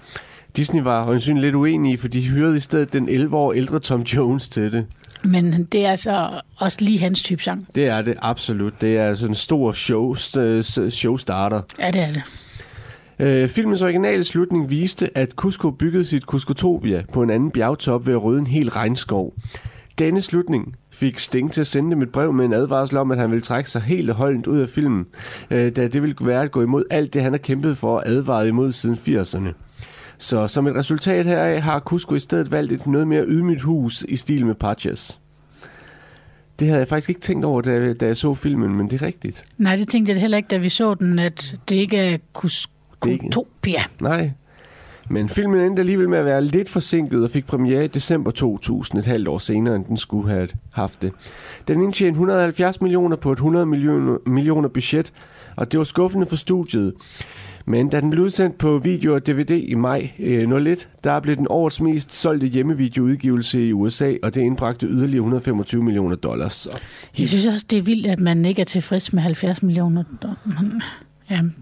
S7: Disney var højensynligt lidt uenige, for de hyrede i stedet den 11 år ældre Tom Jones til det.
S8: Men det er altså også lige hans type sang.
S7: Det er det absolut. Det er sådan en stor show, showstarter.
S8: Ja, det er det.
S7: Øh, filmens originale slutning viste, at Cusco byggede sit Cuscotopia på en anden bjergtop ved at rydde en hel regnskov. Denne slutning fik Sting til at sende dem et brev med en advarsel om, at han ville trække sig helt og holdent ud af filmen, øh, da det ville være at gå imod alt det, han har kæmpet for og advaret imod siden 80'erne. Så som et resultat heraf har Cusco i stedet valgt et noget mere ydmygt hus i stil med Patches. Det havde jeg faktisk ikke tænkt over, da, jeg- da jeg så filmen, men det er rigtigt.
S8: Nej, det tænkte jeg heller ikke, da vi så den, at det ikke er
S7: Det er ikke-
S8: Kuskotopia.
S7: Nej. Men filmen endte alligevel med at være lidt forsinket og fik premiere i december 2000, et halvt år senere, end den skulle have haft det. Den indtjente 170 millioner på et 100 millioner, millioner budget, og det var skuffende for studiet. Men da den blev udsendt på video og DVD i maj øh, 01, der blev den årets mest solgte hjemmevideoudgivelse i USA, og det indbragte yderligere 125 millioner dollars. Så
S8: Jeg synes også, det er vildt, at man ikke er tilfreds med 70 millioner. Men,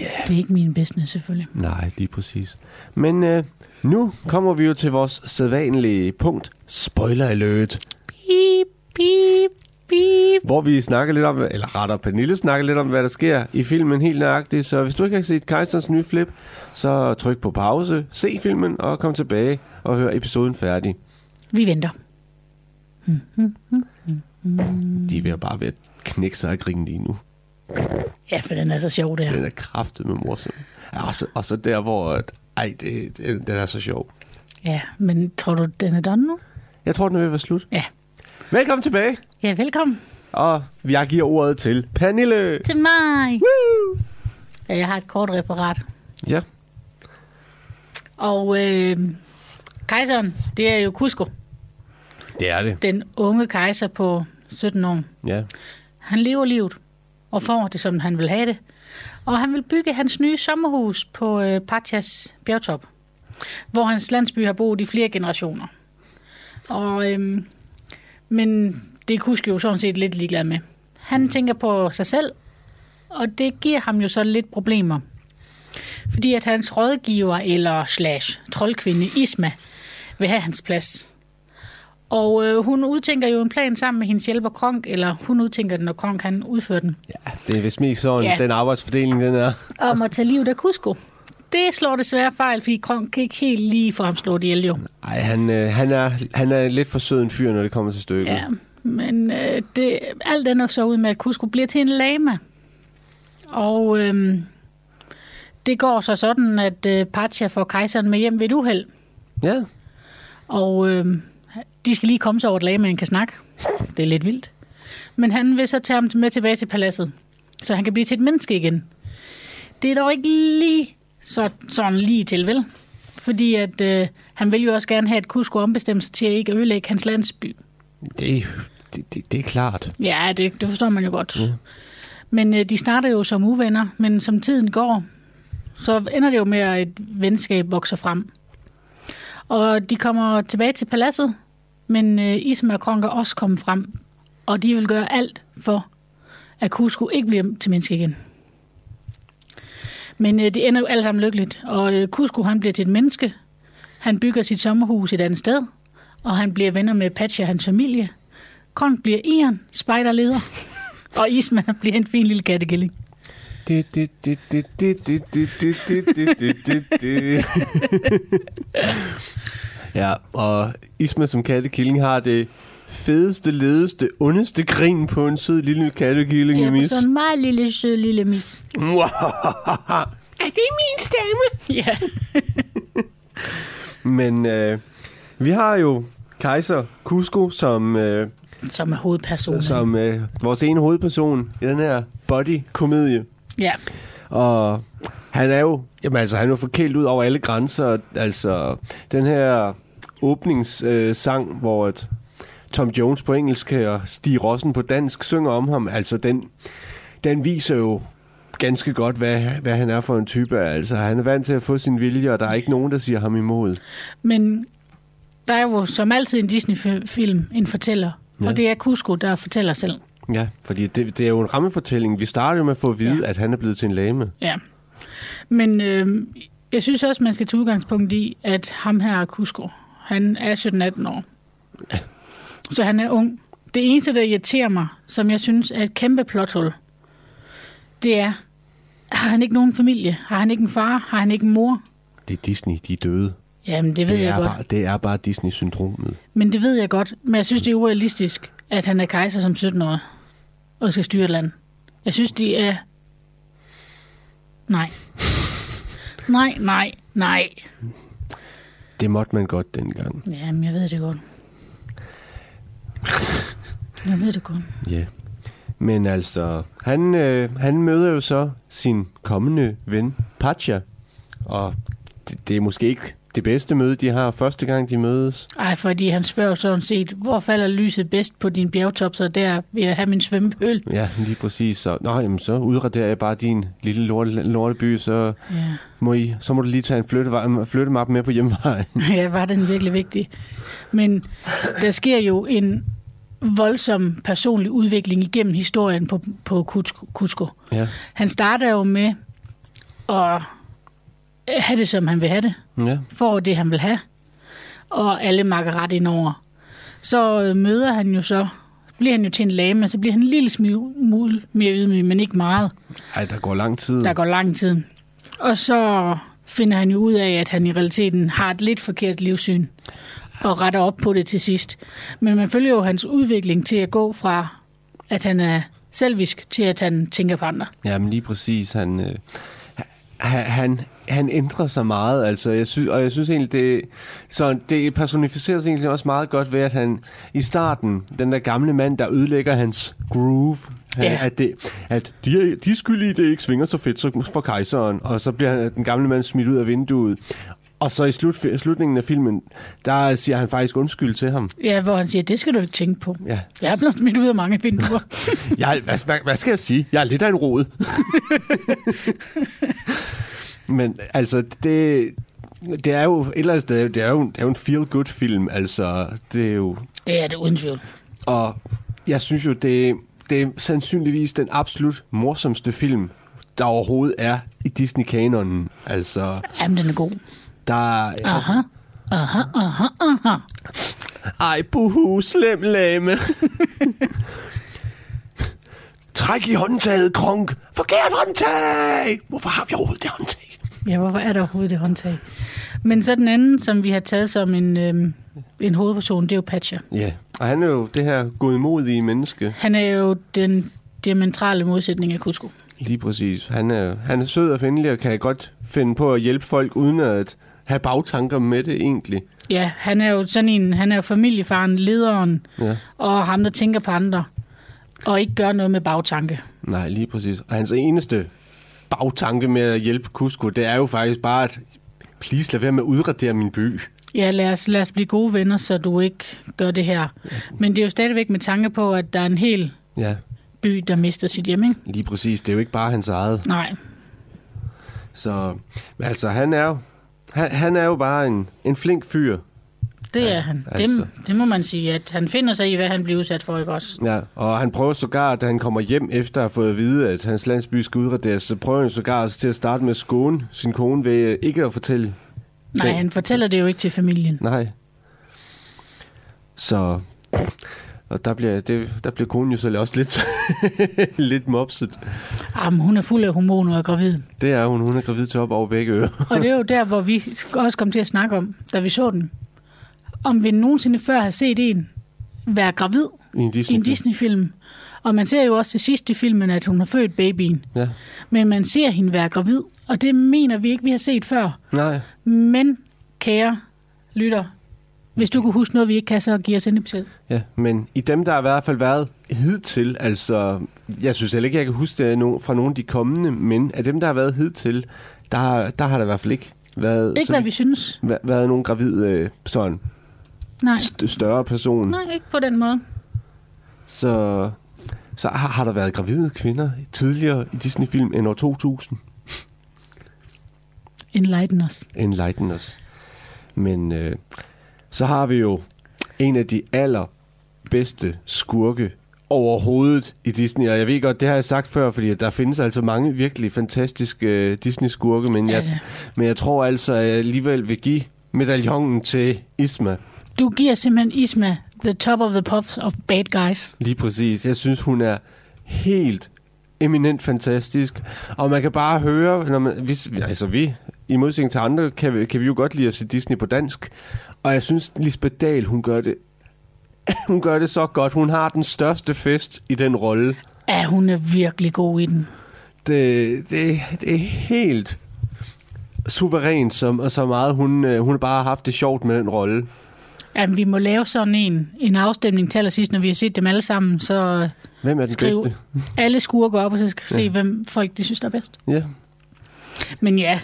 S8: ja, det er ikke min business, selvfølgelig.
S7: Nej, lige præcis. Men øh, nu kommer vi jo til vores sædvanlige punkt, spoiler alert.
S8: Beep, beep, beep.
S7: hvor vi snakker lidt om, eller retter Pernille snakker lidt om, hvad der sker i filmen helt nøjagtigt. Så hvis du ikke har set Kejserens nye flip, så tryk på pause, se filmen og kom tilbage og hør episoden færdig.
S8: Vi venter.
S7: De er ved at bare ved at knække sig af grine lige nu.
S8: Ja, for den er så sjov, det her.
S7: Den er kraftet med morsom. Ja, og, så, og så der, hvor... at- Ej, det, det, den er så sjov.
S8: Ja, men tror du, den er done nu?
S7: Jeg tror, den er ved at være slut.
S8: Ja.
S7: Velkommen tilbage,
S8: Ja, velkommen
S7: og jeg giver ordet til Pernille.
S8: til mig. Ja, jeg har et kort referat.
S7: Ja,
S8: Og øh, kejseren, det er jo Cusco.
S7: det er det.
S8: Den unge kejser på 17 år.
S7: Ja.
S8: Han lever livet og får det, som han vil have det. Og han vil bygge hans nye sommerhus på øh, Pachas bjergtop, hvor hans landsby har boet i flere generationer. Og, øhm, men det er Kusk jo sådan set lidt ligeglad med. Han mm. tænker på sig selv, og det giver ham jo så lidt problemer. Fordi at hans rådgiver eller slash troldkvinde Isma vil have hans plads. Og øh, hun udtænker jo en plan sammen med hendes hjælper Kronk, eller hun udtænker den, og Kronk han udfører den,
S7: ja det er vist mest sådan,
S8: Ja.
S7: den arbejdsfordeling, den er.
S8: om at tage livet af Cusco. Det slår desværre fejl, fordi Kronk kan ikke helt lige for ham slået ihjel jo.
S7: Ej, han, øh, han, er, han er lidt for sød en fyr, når det kommer til stykket.
S8: Ja, men øh, det, alt ender så ud med, at Cusco bliver til en lama. Og øh, det går så sådan, at øh, Pacha får kejseren med hjem ved et uheld.
S7: ja.
S8: Og øh, de skal lige komme sig over, at lamaen kan snakke. Det er lidt vildt. Men han vil så tage ham med tilbage til paladset, så han kan blive til et menneske igen. Det er dog ikke lige så, sådan lige til, vel? Fordi at, øh, han vil jo også gerne have, at Kusko ombestemmer sig til at ikke ødelægge hans landsby.
S7: Det, det, det, det er klart.
S8: Ja, det, det forstår man jo godt. Ja. Men øh, de starter jo som uvenner, men som tiden går, så ender det jo med, at et venskab vokser frem. Og de kommer tilbage til paladset, men øh, Isma og Kronk er også kommet frem, og de vil gøre alt for, at Cusco ikke bliver til menneske igen. Men øh, det ender jo alle sammen lykkeligt, og øh, Cusco han bliver til et menneske. Han bygger sit sommerhus et andet sted, og han bliver venner med Patcha og hans familie. Kronk bliver Ian, spejderleder. og Isma bliver en fin lille kattekilling.
S7: Det, det, det, det, det, det, det, det, det, det, det, det, det. Ja, og Isma som kattekilling har det fedeste, ledeste, ondeste grin på en sød lille kattekilling, ja, mis.
S8: sådan en meget lille, sød lille mis.
S7: Er det min stemme?
S8: Ja,
S7: Men øh, vi har jo kejser Cusco som... Øh,
S8: som er hovedpersonen.
S7: som øh, vores ene hovedperson i den her body-komedie.
S8: Ja,
S7: Og han er jo, jamen altså, han er jo forkælet ud over alle grænser. Altså, den her åbningssang, øh, sang, hvor et, Tom Jones på engelsk og Stig Rossen på dansk synger om ham. Altså, den, den viser jo ganske godt, hvad, hvad han er for en type. Altså, han er vant til at få sin vilje, og der er ikke nogen, der siger ham imod.
S8: Men der er jo som altid i en Disney-film en fortæller. Ja. Og det er Cusco, der fortæller selv.
S7: Ja, fordi det, det er jo en rammefortælling. Vi starter jo med at få at vide, ja. at han er blevet til en lame.
S8: Ja. Men øh, jeg synes også, man skal tage udgangspunkt i, at ham her Cusco, han er 17-18 år. Så han er ung. Det eneste, der irriterer mig, som jeg synes er et kæmpe plothul, det er, har han ikke nogen familie? Har han ikke en far? Har han ikke en mor?
S7: Det er Disney, de er døde.
S8: Jamen, det ved
S7: det,
S8: jeg
S7: er
S8: godt.
S7: bare, det er bare Disney-syndromet.
S8: Men det ved jeg godt. Men jeg synes, det er urealistisk, at han er kejser som 17-årig og skal styre et land. Jeg synes, det er... Nej. Nej, nej, nej.
S7: Det måtte man godt dengang.
S8: Jamen, jeg ved det godt. Jeg ved det godt.
S7: Ja. Men altså, han, øh, han møder jo så sin kommende ven, Pacha. Og det, det er måske ikke det bedste møde, de har første gang, de mødes.
S8: Ej, fordi han spørger sådan set, hvor falder lyset bedst på din bjergtop, så der vil jeg have min svømmepøl.
S7: Ja, lige præcis. Så, nå, jamen, så udraderer jeg bare din lille lorte, lorteby, så,
S8: Ja.
S7: må I, så må du lige tage en flytteva- flyttemap med på hjemvejen.
S8: ja, var den virkelig vigtig. Men der sker jo en voldsom personlig udvikling igennem historien på, på Kutsko- Kutsko.
S7: Ja.
S8: Han starter jo med at have det, som han vil have det.
S7: ja.
S8: får det, han vil have, og alle makker ret ind over. Så øh, møder han jo så, bliver han jo til en lame, og så bliver han en lille smule mere ydmyg, men ikke meget.
S7: Ej, der går lang tid.
S8: Der går lang tid. Og så finder han jo ud af, at han i realiteten har et lidt forkert livssyn, og retter op på det til sidst. Men man følger jo hans udvikling til at gå fra, at han er selvisk, til at han tænker på andre.
S7: Jamen lige præcis, han, øh, han, han, han ændrer sig meget, altså, jeg synes, og jeg synes egentlig, det, så det personificeres egentlig også meget godt ved, at han i starten, den der gamle mand, der ødelægger hans groove, han,
S8: Ja.
S7: ja. at, det, at de, er, de er skyldige, i, det ikke svinger så fedt som for kejseren, og så bliver han, den gamle mand smidt ud af vinduet. Og så i slut, slutningen af filmen, der siger han faktisk undskyld til ham.
S8: Ja, hvor han siger, det skal du ikke tænke på.
S7: Ja.
S8: Jeg er blevet smidt ud af mange vinduer.
S7: Jeg, hvad, hvad, hvad skal jeg sige? Jeg er lidt af en rod. Men altså, det, det er jo et eller andet sted, det er jo, det er jo en feel-good-film, altså, det er jo...
S8: det er det uden tvivl.
S7: Og jeg synes jo, det, det er sandsynligvis den absolut morsomste film, der overhovedet er i Disney-kanonen. Altså,
S8: Jamen, den er god.
S7: der er...
S8: Aha. Aha, aha, aha.
S7: Ej, buhu, slem lame. Træk i håndtaget, Kronk. Forkert håndtag! Hvorfor har vi overhovedet det håndtag?
S8: Ja, hvorfor er der overhovedet det håndtag? Men så den anden, som vi har taget som en, øhm, en hovedperson, det er jo Patcher.
S7: Ja, og han er jo det her godmodige menneske.
S8: Han er jo den diametrale modsætning af Kusko.
S7: Lige præcis. Han er, han er sød og venlig og kan godt finde på at hjælpe folk, uden at have bagtanker med det egentlig.
S8: Ja, han er jo sådan en, han er jo familiefaren, lederen,
S7: Ja.
S8: og ham, der tænker på andre, og ikke gør noget med bagtanke.
S7: Nej, lige præcis. Og hans eneste bagtanke med at hjælpe Kusko, det er jo faktisk bare, at please lad være med at udradere min by.
S8: Ja, lad os, lad os blive gode venner, så du ikke gør det her. Men det er jo stadigvæk med tanke på, at der er en hel
S7: Ja,
S8: by, der mister sit hjem, ikke?
S7: lige præcis. Det er jo ikke bare hans eget.
S8: Nej,
S7: Så men altså, han er jo, han, han er jo bare en, en flink fyr.
S8: det er han.
S7: altså.
S8: Det, det må man sige, at han finder sig i, hvad han bliver udsat for, ikke også?
S7: Ja, og han prøver sågar, da han kommer hjem efter at have fået at vide, at hans landsby skal udraderes, så prøver han sågar også til at starte med at skåne sin kone ved øh, ikke at fortælle
S8: Nej,
S7: Den-
S8: han fortæller det jo ikke til familien.
S7: nej. Så og der bliver, det, der bliver konen jo selv også lidt, lidt mopset.
S8: Jamen, hun er fuld af hormoner og er gravid.
S7: Det er hun, hun er gravid til op over begge ører.
S8: Og det er jo der, hvor vi også kom til at snakke om, da vi så den. Om vi nogensinde før har set en være gravid
S7: I en
S8: i
S7: Disney.
S8: en Disney-film. Og man ser jo også til sidst i filmen, at hun har født babyen.
S7: Ja.
S8: Men man ser hende være gravid, og det mener vi ikke, vi har set før.
S7: Nej.
S8: Men, kære lytter, hvis du kunne huske noget, vi ikke kan, så giv os endelig besked.
S7: Ja, men i dem, der har i hvert fald været hidtil, altså, jeg synes heller ikke, jeg kan huske det er no- fra nogen af de kommende, men af dem, der har været hidtil, der, har- der har der i hvert fald ikke været,
S8: Ikke hvad vi synes.
S7: væ- været nogen gravid øh, sådan
S8: Nej,
S7: st- større person.
S8: nej, ikke på den måde.
S7: Så, så har, har der været gravide kvinder tidligere i Disney-film end år 2000?
S8: Enlighten os.
S7: Enlighten us. Men øh, så har vi jo en af de allerbedste skurke overhovedet i Disney. Og jeg ved godt, det har jeg sagt før, fordi at der findes altså mange virkelig fantastiske øh, Disney-skurke, men jeg,
S8: Altså,
S7: men jeg tror altså, at jeg alligevel vil give medaljongen til Isma.
S8: du giver simpelthen Isma the top of the puffs of bad guys.
S7: Lige præcis. Jeg synes, hun er helt eminent fantastisk. Og man kan bare høre, når man, hvis, altså vi, i modsætning til andre, kan vi, kan vi jo godt lide at se Disney på dansk. Og jeg synes, Lisbeth Dahl, hun gør det hun gør det så godt. Hun har den største fest i den rolle.
S8: Ja, hun er virkelig god i den.
S7: Det, det, det er helt suverænt, som, og så meget hun, øh, hun bare har haft det sjovt med den rolle.
S8: Jamen, vi må lave sådan en, en afstemning til allersidst, når vi har set dem alle sammen, så øh,
S7: Hvem er den
S8: Skriv.
S7: bedste?
S8: alle skurker op, og så skal se, hvem folk de synes, der er bedst.
S7: Ja.
S8: Men ja,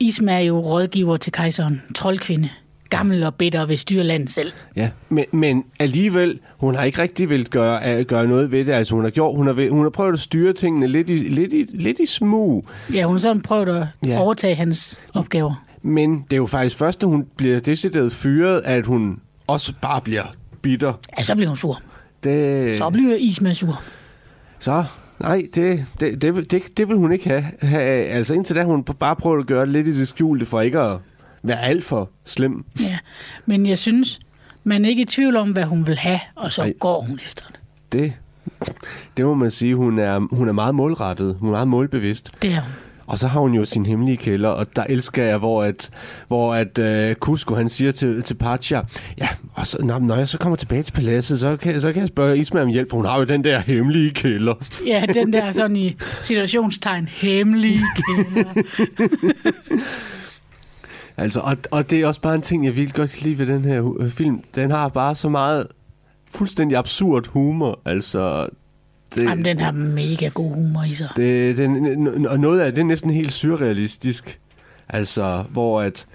S8: Isma er jo rådgiver til kejseren. Troldkvinde. Gammel og bitter ved styrlandet selv.
S7: Ja, men, men alligevel, hun har ikke rigtig vil gøre, øh, gøre noget ved det. Altså, hun har, gjort, hun har, vil- hun har prøvet at styre tingene lidt i, lidt i, lidt i smug,
S8: Ja, hun har sådan prøvet at
S7: Ja.
S8: ja. overtage hans opgaver.
S7: men det er jo faktisk først, da hun bliver decideret fyret, at hun også bare bliver bitter.
S8: Ja, så bliver hun sur.
S7: Det,
S8: Så bliver Isma sur.
S7: så nej, det, det, det, vil- det, det vil hun ikke have. have. af. Altså, indtil da hun bare prøver at gøre det lidt i det skjulte, for ikke at være alt for slem.
S8: Ja. Men jeg synes, man er ikke i tvivl om, hvad hun vil have, og så
S7: Ej.
S8: Ej. går hun efter det.
S7: Det, det må man sige, hun er, hun er meget målrettet. Hun er meget målbevidst.
S8: Det er hun.
S7: Og så har hun jo sin hemmelige kælder, og der elsker jeg, hvor at, hvor at øh, Kusko, han siger til, til Pacha, ja, og så, når, når jeg så kommer tilbage til paladset, så kan, så kan jeg spørge Isma om hjælp, for hun har jo den der hemmelige kælder.
S8: Ja, den der sådan i situationstegn hemmelige kælder.
S7: Altså, og, og det er også bare en ting, jeg virkelig godt kan lide ved den her øh, film. Den har bare så meget fuldstændig absurd humor, altså... Det,
S8: Jamen, den har mega god humor i sig.
S7: Det, det, n- n- og noget af det er næsten helt surrealistisk. Altså, hvor at,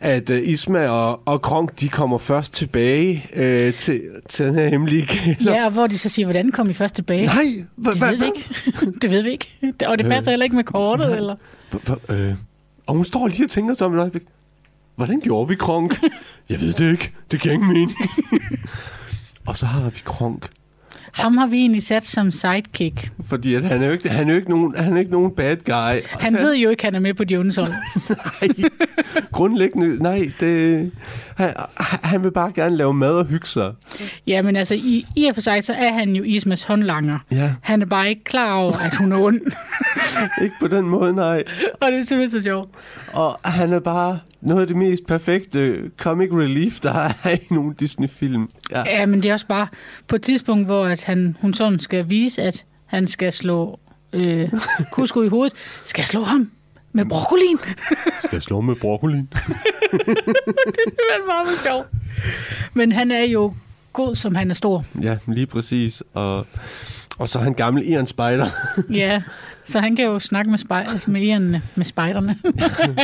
S7: at øh, Isma og, og Kronk, de kommer først tilbage øh, til, til den her hemmelige kælder.
S8: Ja, og hvor de så siger, hvordan kom I først tilbage?
S7: Nej, hva,
S8: det
S7: hva, Øh.
S8: ved vi ikke. det ved vi ikke. Og det passer heller ikke med kortet, eller?
S7: hva, hva, øh, og hun står lige og tænker sig om et øjeblik. Hvordan gjorde vi Kronk? Jeg ved det ikke. Det giver ingen mening. og så har vi Kronk.
S8: Ham har vi egentlig sat som sidekick.
S7: Fordi at han, er jo ikke, han, er jo ikke nogen, han er ikke nogen bad guy.
S8: Han ved jo ikke, at han er med på de ondes hold.
S7: Nej, grundlæggende, nej, det, han, han vil bare gerne lave mad og hygge sig.
S8: Ja, men altså, i, i og for sig, så er han jo Ismas håndlanger.
S7: Ja.
S8: Han er bare ikke klar over, at hun er ond.
S7: Ikke på den måde, nej.
S8: og det er simpelthen så sjovt.
S7: Og han er bare noget af det mest perfekte comic relief, der er i nogle Disney-film. Ja.
S8: Ja, men det er også bare på et tidspunkt, hvor at han, hun sådan skal vise, at han skal slå øh, Kusko i hovedet. Skal jeg slå ham? Med broccolin?
S7: Skal jeg slå med broccolin?
S8: simpelthen bare for sjov. Men han er jo god, som han er stor.
S7: Ja, lige præcis. Og, og så er han gammel Iron Spider.
S8: Ja, så han kan jo snakke med, spej- med, irerne, med spejderne.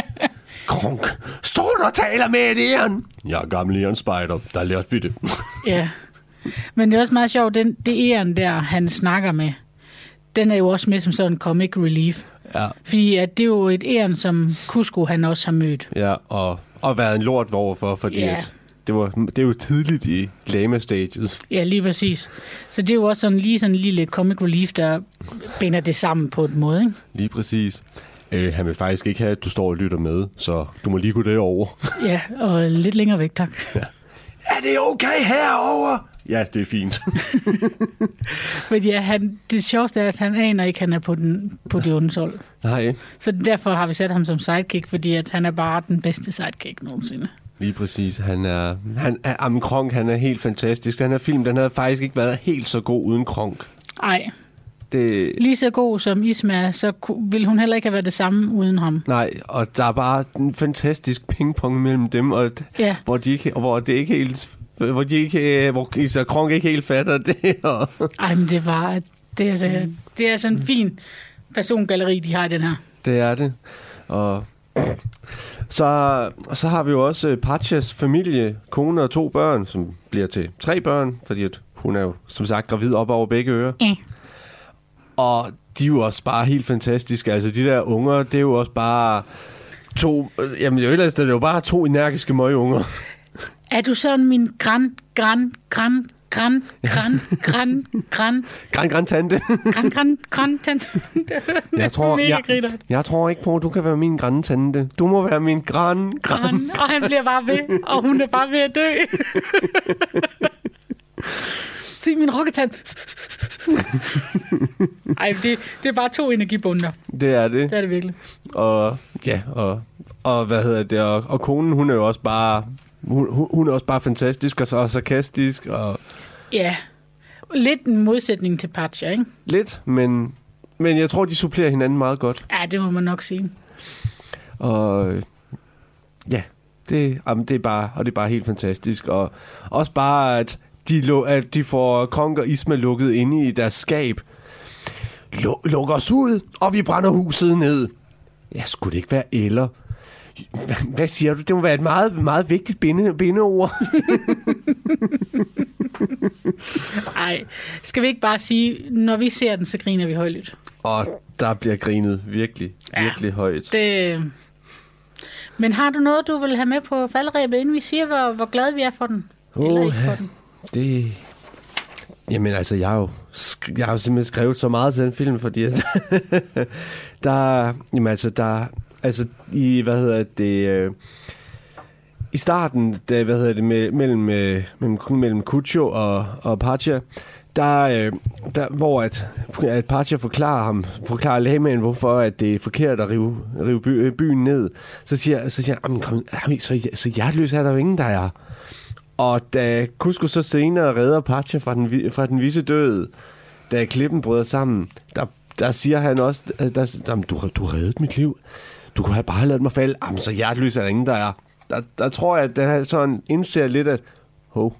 S7: Kronk, står du og taler med et Iron? Jeg er gammel Iron Spider, der lærte vi det.
S8: ja. Men det er også meget sjovt, den, det æren der, han snakker med, den er jo også med som sådan en comic relief.
S7: Ja.
S8: Fordi at det er jo et æren, som Kusko han også har mødt.
S7: Ja, og, og været en lort overfor, fordi
S8: Ja.
S7: at det, var, det er jo tidligt i lama-staget.
S8: Ja, lige præcis. Så det er jo også sådan lige sådan en lille comic relief, der binder det sammen på en måde. Ikke?
S7: Lige præcis. Øh, han vil faktisk ikke have, at du står og lytter med, så du må lige gå derover.
S8: Ja, og lidt længere væk, tak.
S7: Er det okay herover? Ja, det er fint.
S8: Men ja, han, det sjoveste er, at han aner ikke, at han er på, den, på det ondes hold.
S7: Nej,
S8: Så derfor har vi sat ham som sidekick, fordi at han er bare den bedste sidekick nogensinde.
S7: lige præcis. Han er, han er, jamen, Kronk, han er helt fantastisk. Den her film, den havde faktisk ikke været helt så god uden Kronk.
S8: Ej,
S7: Det,
S8: lige så god som Isma, er, så ku- ville hun heller ikke have været det samme uden ham.
S7: nej, og der er bare en fantastisk pingpong mellem dem, og d-
S8: Ja,
S7: hvor, de ikke, hvor det ikke helt hvor de ikke, øh, hvor så Kronk ikke helt fatter det. Og,
S8: ej, men det var, det er, altså, det er sådan en fin persongalleri, de har i den her.
S7: det er det. Og Så, så har vi jo også øh, Patchas familie, kone og to børn, som bliver til tre børn, fordi at hun er jo som sagt gravid op over begge ører.
S8: Mm.
S7: Og de er jo også bare helt fantastiske. Altså de der unger, det er jo også bare to... øh, Jamen jo ellers, det er jo bare to energiske møgunger.
S8: Er du sådan min gran, gran, gran, gran, gran, gran, gran,
S7: Gran, gran tante.
S8: gran, gran, gran, tante?
S7: Jeg tror,
S8: mega
S7: jeg,
S8: griner.
S7: jeg tror ikke på, at du kan være min gran tante. Du må være min gran, gran.
S8: Gran, og han bliver bare ved, og hun er bare ved at dø. Se min rokketand. Ej, det, det er bare to energibunder.
S7: Det er det.
S8: Det er det virkelig.
S7: og ja, og, og hvad hedder det, og, og konen, hun er jo også bare, hun, hun- hun er også bare fantastisk og, så- og sarkastisk og
S8: Ja. Lidt en modsætning til Pacha, ikke?
S7: lidt, men, men jeg tror, de supplerer hinanden meget godt,
S8: Ja, det må man nok sige.
S7: og øh, ja, det, jamen, det er bare, og det er bare helt fantastisk, og også bare, at de, lu- at de får Kronk og Isma lukket inde i deres skab, Lu- lukker os ud, og vi brænder huset ned. Ja, skulle det ikke være eller? Hvad siger du? Det må være et meget, meget vigtigt binde, bindeord.
S8: Ej, skal vi ikke bare sige, når vi ser den, så griner vi højlydt.
S7: Og der bliver grinet virkelig,
S8: Ja,
S7: virkelig højt.
S8: Det... Men har du noget, du vil have med på faldrebet, inden vi siger, hvor, hvor glade vi er for den? Eller ikke for den?
S7: det... Jamen altså, jeg har jo, sk- jeg har jo simpelthen skrevet så meget til den film, fordi at der... Jamen altså, der... Altså, i, hvad hedder det... Øh, I starten, da, hvad hedder det, me- mellem, øh, mellem, mellem Kucho og, og Pacha, der, øh, der, hvor at, at Pacha forklarer ham, forklarer lægmanden, hvorfor at det er forkert at rive, rive by, øh, byen ned, så siger, så siger han, "Jamen, kom, jamen, så, så hjerteløs er der jo ingen, der er. Og da Kusko så senere redder Pacha fra den, vi- fra den visse død, da klippen bryder sammen, der, der siger han også, øh, der, jamen, du, du reddede mit liv. Du kunne have bare ladet mig falde. Jamen, så hjerteløs er der ingen, der er. Der, der tror jeg, at den her sådan indser lidt, at hov,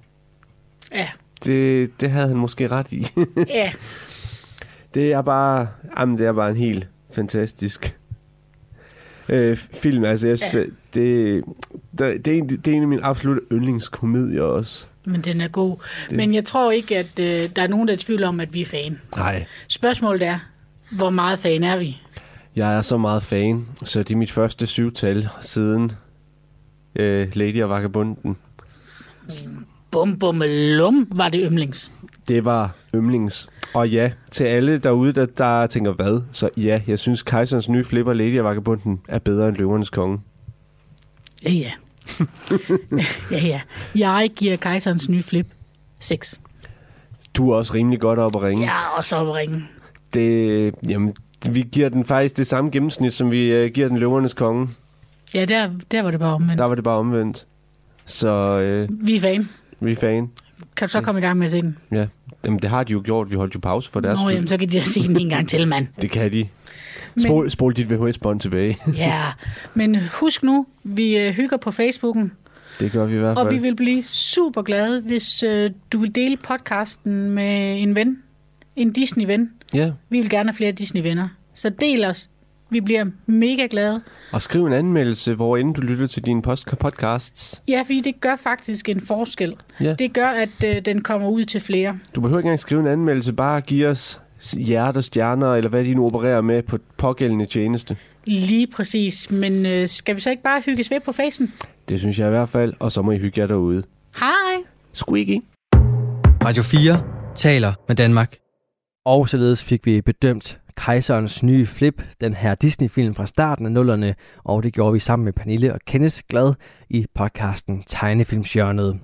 S8: Ja,
S7: det, det havde han måske ret i.
S8: ja.
S7: det er bare, jamen, det er bare en helt fantastisk øh, film. Altså, jeg synes,
S8: Ja.
S7: ja. det, det, det, er en, det er en af mine absolutte yndlingskomedier også.
S8: Men den er god. Det. Men jeg tror ikke, at øh, der er nogen, der er i tvivl om, at vi er fan.
S7: Nej.
S8: Spørgsmålet er, hvor meget fan er vi?
S7: Jeg er så meget fan, så det er mit første syvtal siden øh, Lady og Vagabunden.
S8: Bum, bum, lum, var det yndlings.
S7: Det var yndlings. Og ja, til alle derude, der, der tænker hvad, så ja, jeg synes Kejserens nye flipper Lady og Vagabunden er bedre end Løvernes Konge.
S8: Ja, ja. ja, ja. Jeg giver kejserens nye flip 6.
S7: Du er også rimelig godt op at ringe.
S8: Ja, og så op at ringe.
S7: Det, jamen, vi giver den faktisk det samme gennemsnit, som vi øh, giver den Løvernes Konge.
S8: Ja, der, der var det bare omvendt.
S7: Der var det bare omvendt. Så øh,
S8: Vi er fan.
S7: vi er fan.
S8: Kan du så komme i gang med at se den?
S7: Ja. Jamen, det har de jo gjort. Vi holdt jo pause for deres
S8: Nå,
S7: skyld.
S8: jamen, så kan de da se den en gang til, mand.
S7: Det kan de. Spol, spol dit VHS-bånd tilbage.
S8: Ja, men husk nu, vi øh, hygger på Facebooken,
S7: Det gør vi i hvert fald.
S8: og vi vil blive super glade, hvis øh, du vil dele podcasten med en ven, en Disney-ven.
S7: Ja,
S8: Vi vil gerne have flere Disney-venner, så del os. Vi bliver mega glade.
S7: og skriv en anmeldelse, hvor inden du lytter til dine post- podcasts.
S8: Ja, fordi det gør faktisk en forskel.
S7: Ja.
S8: Det gør, at øh, den kommer ud til flere.
S7: Du behøver ikke engang skrive en anmeldelse, bare give os hjerte og stjerner, eller hvad de nu opererer med på pågældende tjeneste.
S8: Lige præcis. Men øh, skal vi så ikke bare hygges ved på facen?
S7: Det synes jeg i hvert fald, og så må I hygge jer derude.
S8: Hej!
S7: Squeaky!
S1: Radio 4 taler med Danmark. Og således fik vi bedømt Kejserens nye flip, den her Disney-film fra starten af nullerne, og det gjorde vi sammen med Pernille og Kenneth Glad i podcasten Tegnefilmsjørnet.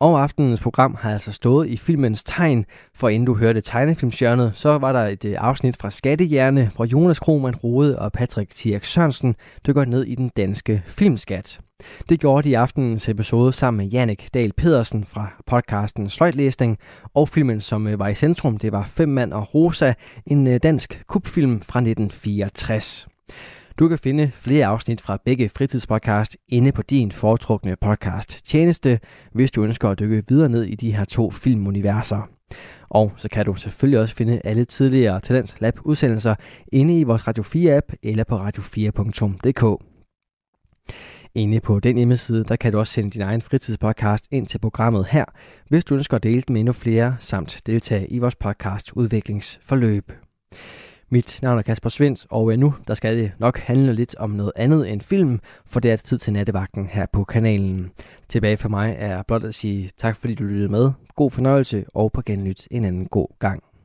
S1: Og aftenens program har altså stået i filmens tegn, for inden du hørte Tegnefilmsjørnet, så var der et øh, afsnit fra Skattehjerne, hvor Jonas Krohmann Rode og Patrick Tierk Sørensen dykker ned i den danske filmskat. Det gjorde de i aftenens episode sammen med Jannik Dahl Pedersen fra podcasten Sløjtlæsning, og filmen, som øh, var i centrum, det var Fem mand og Rosa, en øh, dansk kubfilm fra 1964. Du kan finde flere afsnit fra begge fritidspodcast inde på din foretrukne podcast tjeneste, hvis du ønsker at dykke videre ned i de her to filmuniverser. Og så kan du selvfølgelig også finde alle tidligere Talents Lab udsendelser inde i vores Radio 4 app eller på radio4.dk. Inde på den hjemmeside, der kan du også sende din egen fritidspodcast ind til programmet her, hvis du ønsker at dele den med endnu flere, samt deltage i vores podcast udviklingsforløb. Mit navn er Kasper Svendt, og øh, nu der skal det nok handle lidt om noget andet end film, for det er tid til nattevagten her på kanalen. Tilbage for mig er blot at sige tak, fordi du lyttede med. God fornøjelse, og på genlyt en anden god gang.